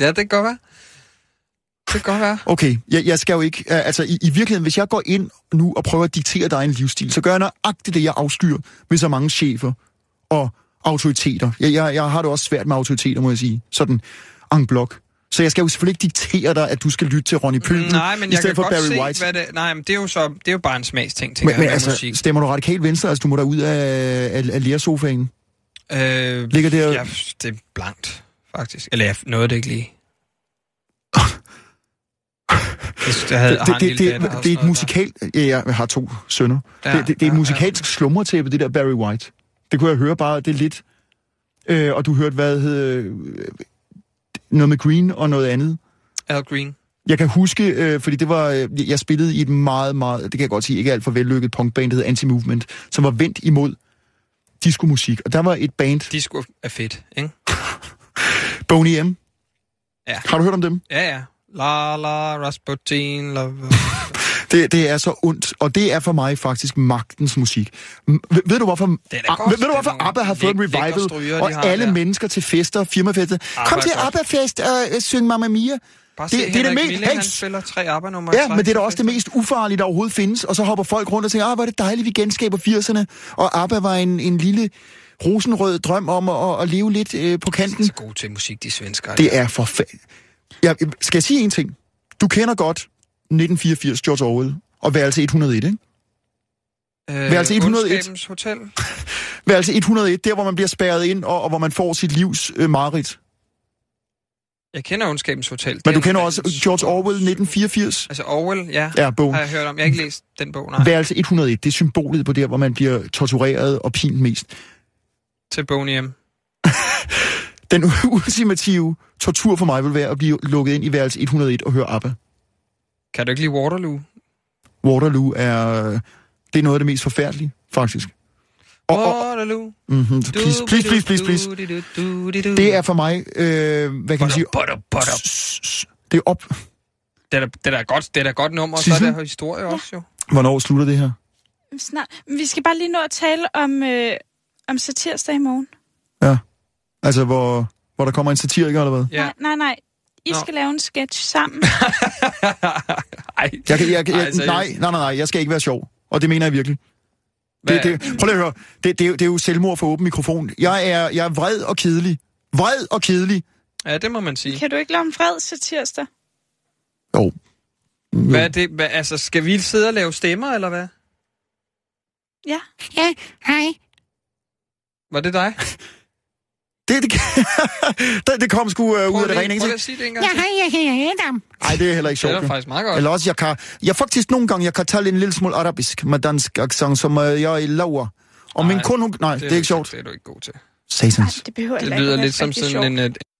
S6: Ja, det kan godt være. Det kan godt være.
S5: Okay, jeg, jeg skal jo ikke... øh, Altså, i, i virkeligheden, hvis jeg går ind nu og prøver at diktere dig en livsstil, så gør jeg nøjagtigt det, jeg afskyr med så mange chefer og autoriteter. Jeg, jeg, jeg har det også svært med autoriteter, må jeg sige. Sådan en blok. Så jeg skal jo selvfølgelig ikke diktere dig, at du skal lytte til Ronnie Pøbel,
S6: Nej, men
S5: i
S6: jeg
S5: stedet
S6: kan
S5: for
S6: godt
S5: Barry
S6: se,
S5: White.
S6: hvad det... Nej, men det er jo, så, det er jo bare en smagsting, tænker
S5: Men, men
S6: jeg, altså,
S5: altså,
S6: musik.
S5: stemmer du radikalt venstre? Altså, du må da ud af, af, af lærersofaen.
S6: Øh,
S5: Ligger det...
S6: ja, det er blankt, faktisk. Eller jeg nåede det ikke lige. Jeg, jeg havde,
S5: det, det, det, det, det er et
S6: musikalt...
S5: musikalt... Ja, jeg har to sønner. Ja, det, det, det er et musikalsk ja. slumretæppe, det der Barry White. Det kunne jeg høre bare, det er lidt... Øh, og du hørte, hvad hed... Øh, noget med Green og noget andet.
S6: Ja. Al Green.
S5: Jeg kan huske, øh, fordi det var, øh, jeg spillede i et meget, meget, det kan jeg godt sige, ikke alt for vellykket punkband, der hed Anti-Movement, som var vendt imod diskomusik. Og der var et band,
S6: Disco er fedt, ikke?
S5: Boney M.
S6: Ja.
S5: Har du hørt om dem?
S6: Ja, ja. La la
S5: [laughs]
S6: Rasputin, la...
S5: Det, det er så ondt, og det er for mig faktisk magtens musik. M- ved, ved du, hvorfor,
S6: da
S5: Ah, ved,
S6: godt.
S5: ved du,
S6: Det er
S5: hvorfor
S6: nogle
S5: ABBA har fået en
S6: læk- lækre
S5: revival,
S6: stryger, de
S5: og
S6: har
S5: alle
S6: der. Ah,
S5: mennesker til fester, firmafester? Kom
S6: hvor
S5: til
S6: godt.
S5: ABBA-fest og øh, syng Mamma Mia.
S6: Bare se,
S5: Det, det er det
S6: Henrik
S5: mest...
S6: Milling, han
S5: Hey,
S6: spiller tre ABBA-numre. i
S5: ja,
S6: træk
S5: men det er da
S6: til
S5: også det
S6: fest.
S5: mest ufarlige, der overhovedet findes. Og så hopper folk rundt og tænker, ah, hvor er det dejligt, vi genskaber 80'erne. Og ABBA var en, en lille rosenrød drøm om at, at leve lidt øh, på kanten.
S6: Så gode til musik, de svensker.
S5: Det er for fa- ja, Skal jeg sige en ting? Du kender godt 1984 George Orwell og værelse 101, ikke?
S6: Øh,
S5: værelse 101.
S6: Ondskabens Hotel.
S5: Værelse 101, der hvor man bliver spærret ind, og, og hvor man får sit livs øh, mareridt.
S6: Jeg kender Ondskabens Hotel.
S5: Men
S6: Det
S5: du
S6: er
S5: kender
S6: en-
S5: også George Orwell 1984?
S6: Altså Orwell, ja.
S5: Ja, bogen.
S6: Har jeg hørt om. Jeg har ikke læst den bog, nej.
S5: Værelse 101, det er symbolet på der, hvor man bliver tortureret og pint mest.
S6: Til Bonium.
S5: Den [laughs] ultimative tortur for mig vil være at blive lukket ind i værelse 101 og høre ABBA.
S6: Kan du ikke lide Waterloo?
S5: Waterloo er, øh, det er noget af det mest forfærdelige, faktisk. Og, og,
S6: Waterloo.
S5: mm-hmm, please, please, please, please, please. Det er for mig, øh, hvad kan man sige,
S6: Butter, butter.
S5: det er op.
S6: Det er, da- det er da godt, det er da godt nummer, og så er
S5: Sissel?
S6: der historie også jo.
S5: Hvornår slutter det her?
S4: Snart. Vi skal bare lige nå at tale om, øh, om satirsdag i morgen.
S5: Altså, hvor, hvor der kommer en satiriker eller hvad?
S6: Ja.
S4: Nej, nej, nej. I
S6: Nå.
S4: skal lave en sketch
S6: [laughs]
S4: sammen.
S6: Ej.
S5: Jeg kan, jeg, jeg,
S6: Ej, seriøst.
S5: nej, nej, nej, nej, jeg skal ikke være sjov. Og det mener jeg virkelig. Det,
S6: Hvad-
S5: det, prøv lige at høre. Det, det, er jo- det er jo selvmord for åben mikrofon. Jeg er, jeg er vred og kedelig. Vred og kedelig.
S6: Ja, det må man sige.
S4: kan du ikke lave en fred satirsdag?
S5: Jo.
S6: Hvad er det? Hvad, altså, skal vi sidde og lave stemmer, eller hvad?
S4: Ja.
S6: Var det dig?
S5: Det, det, [laughs] det, det kom sgu øh, ud af det rene
S6: Prøv lige
S5: ingenting.
S6: at sige det en gang. til.
S5: Nej, det er heller ikke sjovt.
S6: Det er
S5: jo.
S6: faktisk meget godt.
S5: Eller også, jeg kan... Jeg faktisk nogle gange, jeg kan tale en lille smule arabisk med dansk accent, som øh, jeg laver. Og min kone, hun... Nej, det, det er
S6: du
S5: ikke sjovt.
S6: Det er du ikke god til.
S5: Satans.
S4: det behøver
S6: Det
S4: heller
S6: lyder
S4: ikke at
S6: lidt
S4: være
S6: som
S4: rigtig
S6: sådan en, øh,